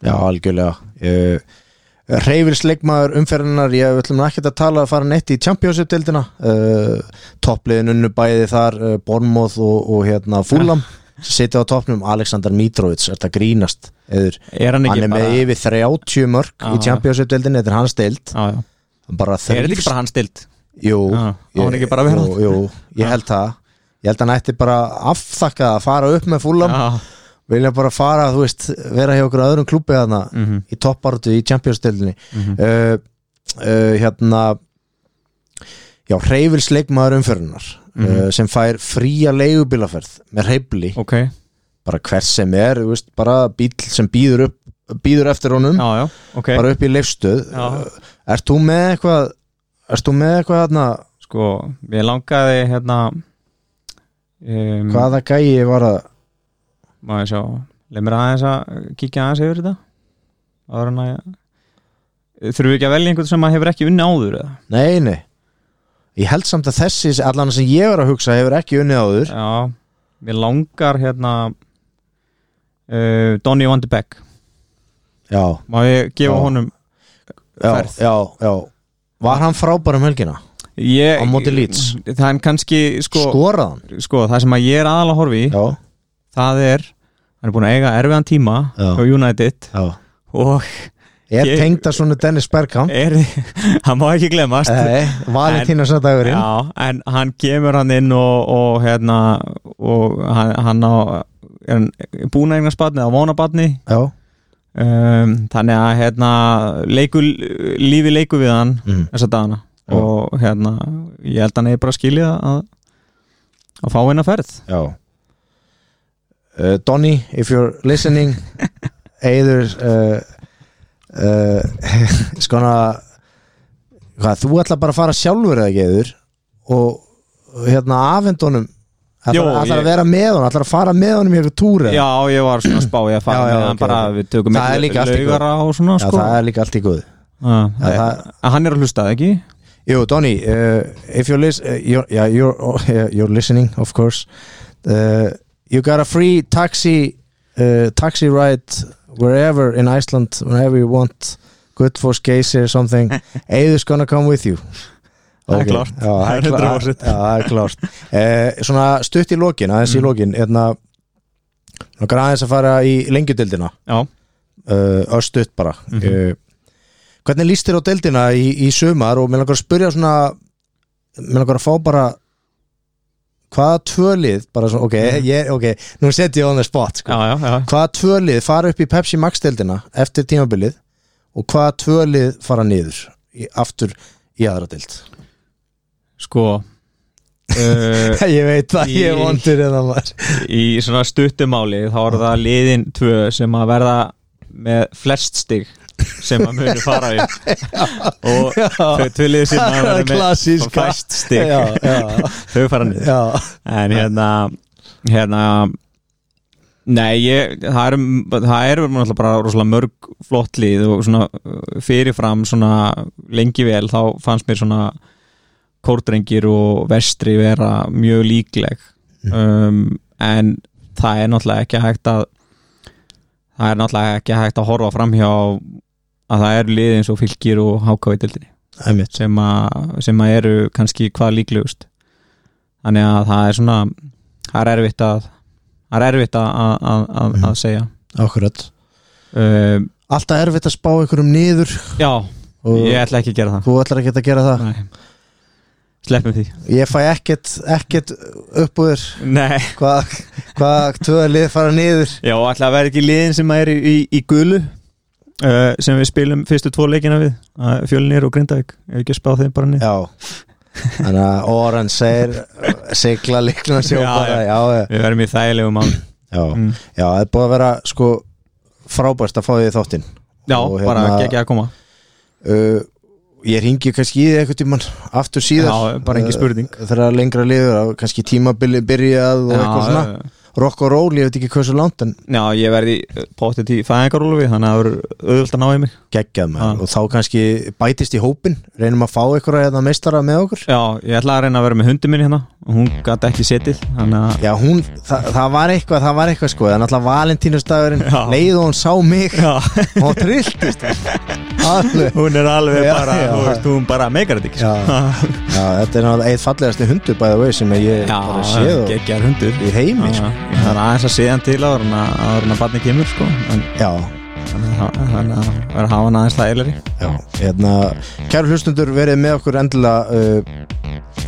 Já, algjörlega uh, Reyfilsleikmaður umferðinar ég við ætlum ekki að tala að fara neitt í Championship-deildina uh, toppliðin unnu bæði þar uh, Bornmoth og, og hérna Fúlam sitja á toppnum Aleksandar Mitrovic er þetta grínast eður,
Er hann ekki
hann er
bara...
með yfir 30 mörg í
Já.
Championship-deildin, þetta er hans deild
Já, já.
bara
Er þetta ekki
þrífst-
bara hans dild?
Jú,
Já, á hann ekki bara að vera Ah.
jú, jú, ég held það ég held að hann ætti bara að afþakka að fara upp með Fúlam
Já,
vilja bara fara, þú veist, vera hjá okkur öðrum klubbi þarna
mhm,
í toppartu í Champions-deildinni
mhm.
uh, uh, hérna já, reyfils leikmaður umförunar uh,
Mhm.
sem fær fría leigubilaferð með reyfli,
ok,
bara hvers sem er þú veist, bara bíl sem býður upp býður eftir honum,
já, já, ok
Hm. bara upp í leifstöð
Já.
ert þú með eitthvað ert þú með eitthvað þarna
sko, ég langaði hérna um,
hvaða gæi var að
má ég sjá, leið mér aðeins að kíkja aðeins yfir þetta áður en að ég þurfum við ekki að velja einhvern sem að hefur ekki unni áður eða?
nei, nei ég held samt að þessi, allan sem ég er að hugsa hefur ekki unnið áður
já, mér langar hérna uh, Donny Van de Beek
já,
má ég gefa
Já.
honum
já,
Ferð.
já, já var hann frábær um helgina?
ég,
Á móti Leeds.
það er kannski, sko, sko.
skorað hann?
það sem að ég er aðalega horfi í,
já,
það er hann er búin að eiga erfiðan tíma
Já.
hjá United
já
og
Er
Ég-
tengda svona Dennis Bergkamp
er, <laughs> hann má ekki glemast
Eh, Valentína svona dagurinn
Já, en hann kemur hann inn og, og hérna og hann, hann á er hann búin að eignast batni eða vona batni
Já,
um, þannig að hérna leiku, lífi leiku við hann
mm.
þessa dagana
Já.
og hérna ég held að hann eigi bara skilið að að fá hennar ferð
já. Uh, Donny, if you're listening either uh, <laughs> uh, skona hvað, þú ætla bara að fara sjálfur eða ekki eður og og hérna afhendunum Ætlar,
Jó,
ætlar
ég-
að vera með honum, ætlar að fara með honum í eitthvað túri
Já, ég var svona að spá ég að fara
Já, já,
með hann
ok,
bara
ok.
við tökum
Það er líka allt í
laugara og svona
Já,
sko.
það er líka allt í góð
Já,
Já,
það- En hann er að hlusta, ekki?
Jú, Donny, uh, if you're, lis uh, you're, yeah, you're, oh, <laughs> yeah, you're listening, of course, uh, you got a free taxi uh, taxi ride wherever in Iceland, whenever you want, good for skase or
<laughs>
something, Eiður's gonna come with you.
Það er
Ok,
klárt.
Já,
<laughs>
það er
Það er
klá-
100%.
Já, það er klárt. Uh, svona stutt í lokin, aðeins í
Mm.
lokin, hérna, nokkar aðeins að fara í lengjudildina
Já,
uh, östuðt bara
Mhm.
uh, hvernig líst þér á deildina í, í sumar og mér langar að spyrja svona mér langar að fá bara hvaða tvölið bara svona, ok, ég, ok, nú setjum ég on the spot sko.
já, já, já.
hvaða tvölið fara upp í Pepsi Max deildina eftir tímabilið og hvaða tvölið fara niður í, aftur í aðra deild
Sko uh,
<laughs> ég veit það, ég er
Í-
vondur hérna, en það <laughs> var
Í svona stuttumáli þá er það liðin tvö sem að verða með flest stig sem að munu fara
<laughs>
í og þau tvö liðin sem að
Það er
verða með
klassíska.
flest stig
já, <laughs> já,
þau fara niður
já,
en hérna hérna Nei, ég, það er, það er náttúrulega bara rosalega mörg flott lið og svona uh, fyrirfram svona lengi vel þá fannst mér svona kórdrengir og vestri vera mjög líkleg um, en það er náttúrulega ekki hægt að það er náttúrulega ekki hægt að horfa framhjá að það eru lið eins og fylgir og hákaveitildinni
einmitt
sem, a, sem að eru kannski hvað líklegust þannig að það er svona það er erfitt að það er erfitt að, að, að, að, að segja
Akkurat.
uh,
Alltaf erfitt að spá einhverjum niður
já,
og
ég ætla ekki að gera
þú ætlar ekki að gera það
það Nei. sleppum því
Ég fæ ekkert, ekkert upp úr
Nei.
hvað hva, tvöða lið fara niður
já, ætla að vera ekki liðin sem að er í, í, í gulu uh, sem við spilum fyrstu tvo leikina við uh, fjölinir og grindavík, ef ekki að spá þeim bara niður
Já Þannig að Oran segir sigla líkna sjó
Já,
bara
já.
Já, já,
við verðum í þægilegum án
já,
Mm.
já það er búið að vera sko frábært að fá því þáttinn
já,
Og
bara
hérna-
ekki að koma
uh, Ég ringi kannski í því eitthvað tímann aftur síðar
já, bara ekki spurning
uh, Þegar lengra liður, að kannski tímabili byrjað og eitthvað svona
já,
Rock og roll, ég veit ekki hversu langt en
Já, ég verði potið í fæðingarúlufi þannig að það verður auðvöld að ná í mig
geggjað maður
Já.
og þá kannski bætist í hópin reynum að fá ykkur að meistara með okkur
Já, ég ætla að reyna að vera með hundi minn hérna og hún gæti ekki setið þannig að <laughs>
Já, hún, þa það var eitthvað, það var eitthvað sko Það er náttúrulega valentínustagurinn
Já.
Leið og hún sá mig <laughs>
Já,
og hún trilltist Alveg
hún er alveg
Já,
bara,
já.
þú veist, hún bara meikar þetta ekki
Já.
sko.
Já, þetta er náttúrulega eitt fallegasti hundur bæða vei sem ég bara
<laughs> já
séð og
geggjar hundur
í heimi
Já,
sko.
Það er aðeins að segja hann til áður en að áður en að barni kemur sko en
Já,
þannig að þannig að vera að hafa hann aðeins þægilegri
já, hérna Kæru hlustundur verið með okkur endilega uh,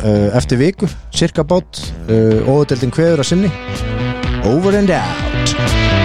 uh, eftir viku cirka bát, uh, óudeldin kveður að sinni Over and out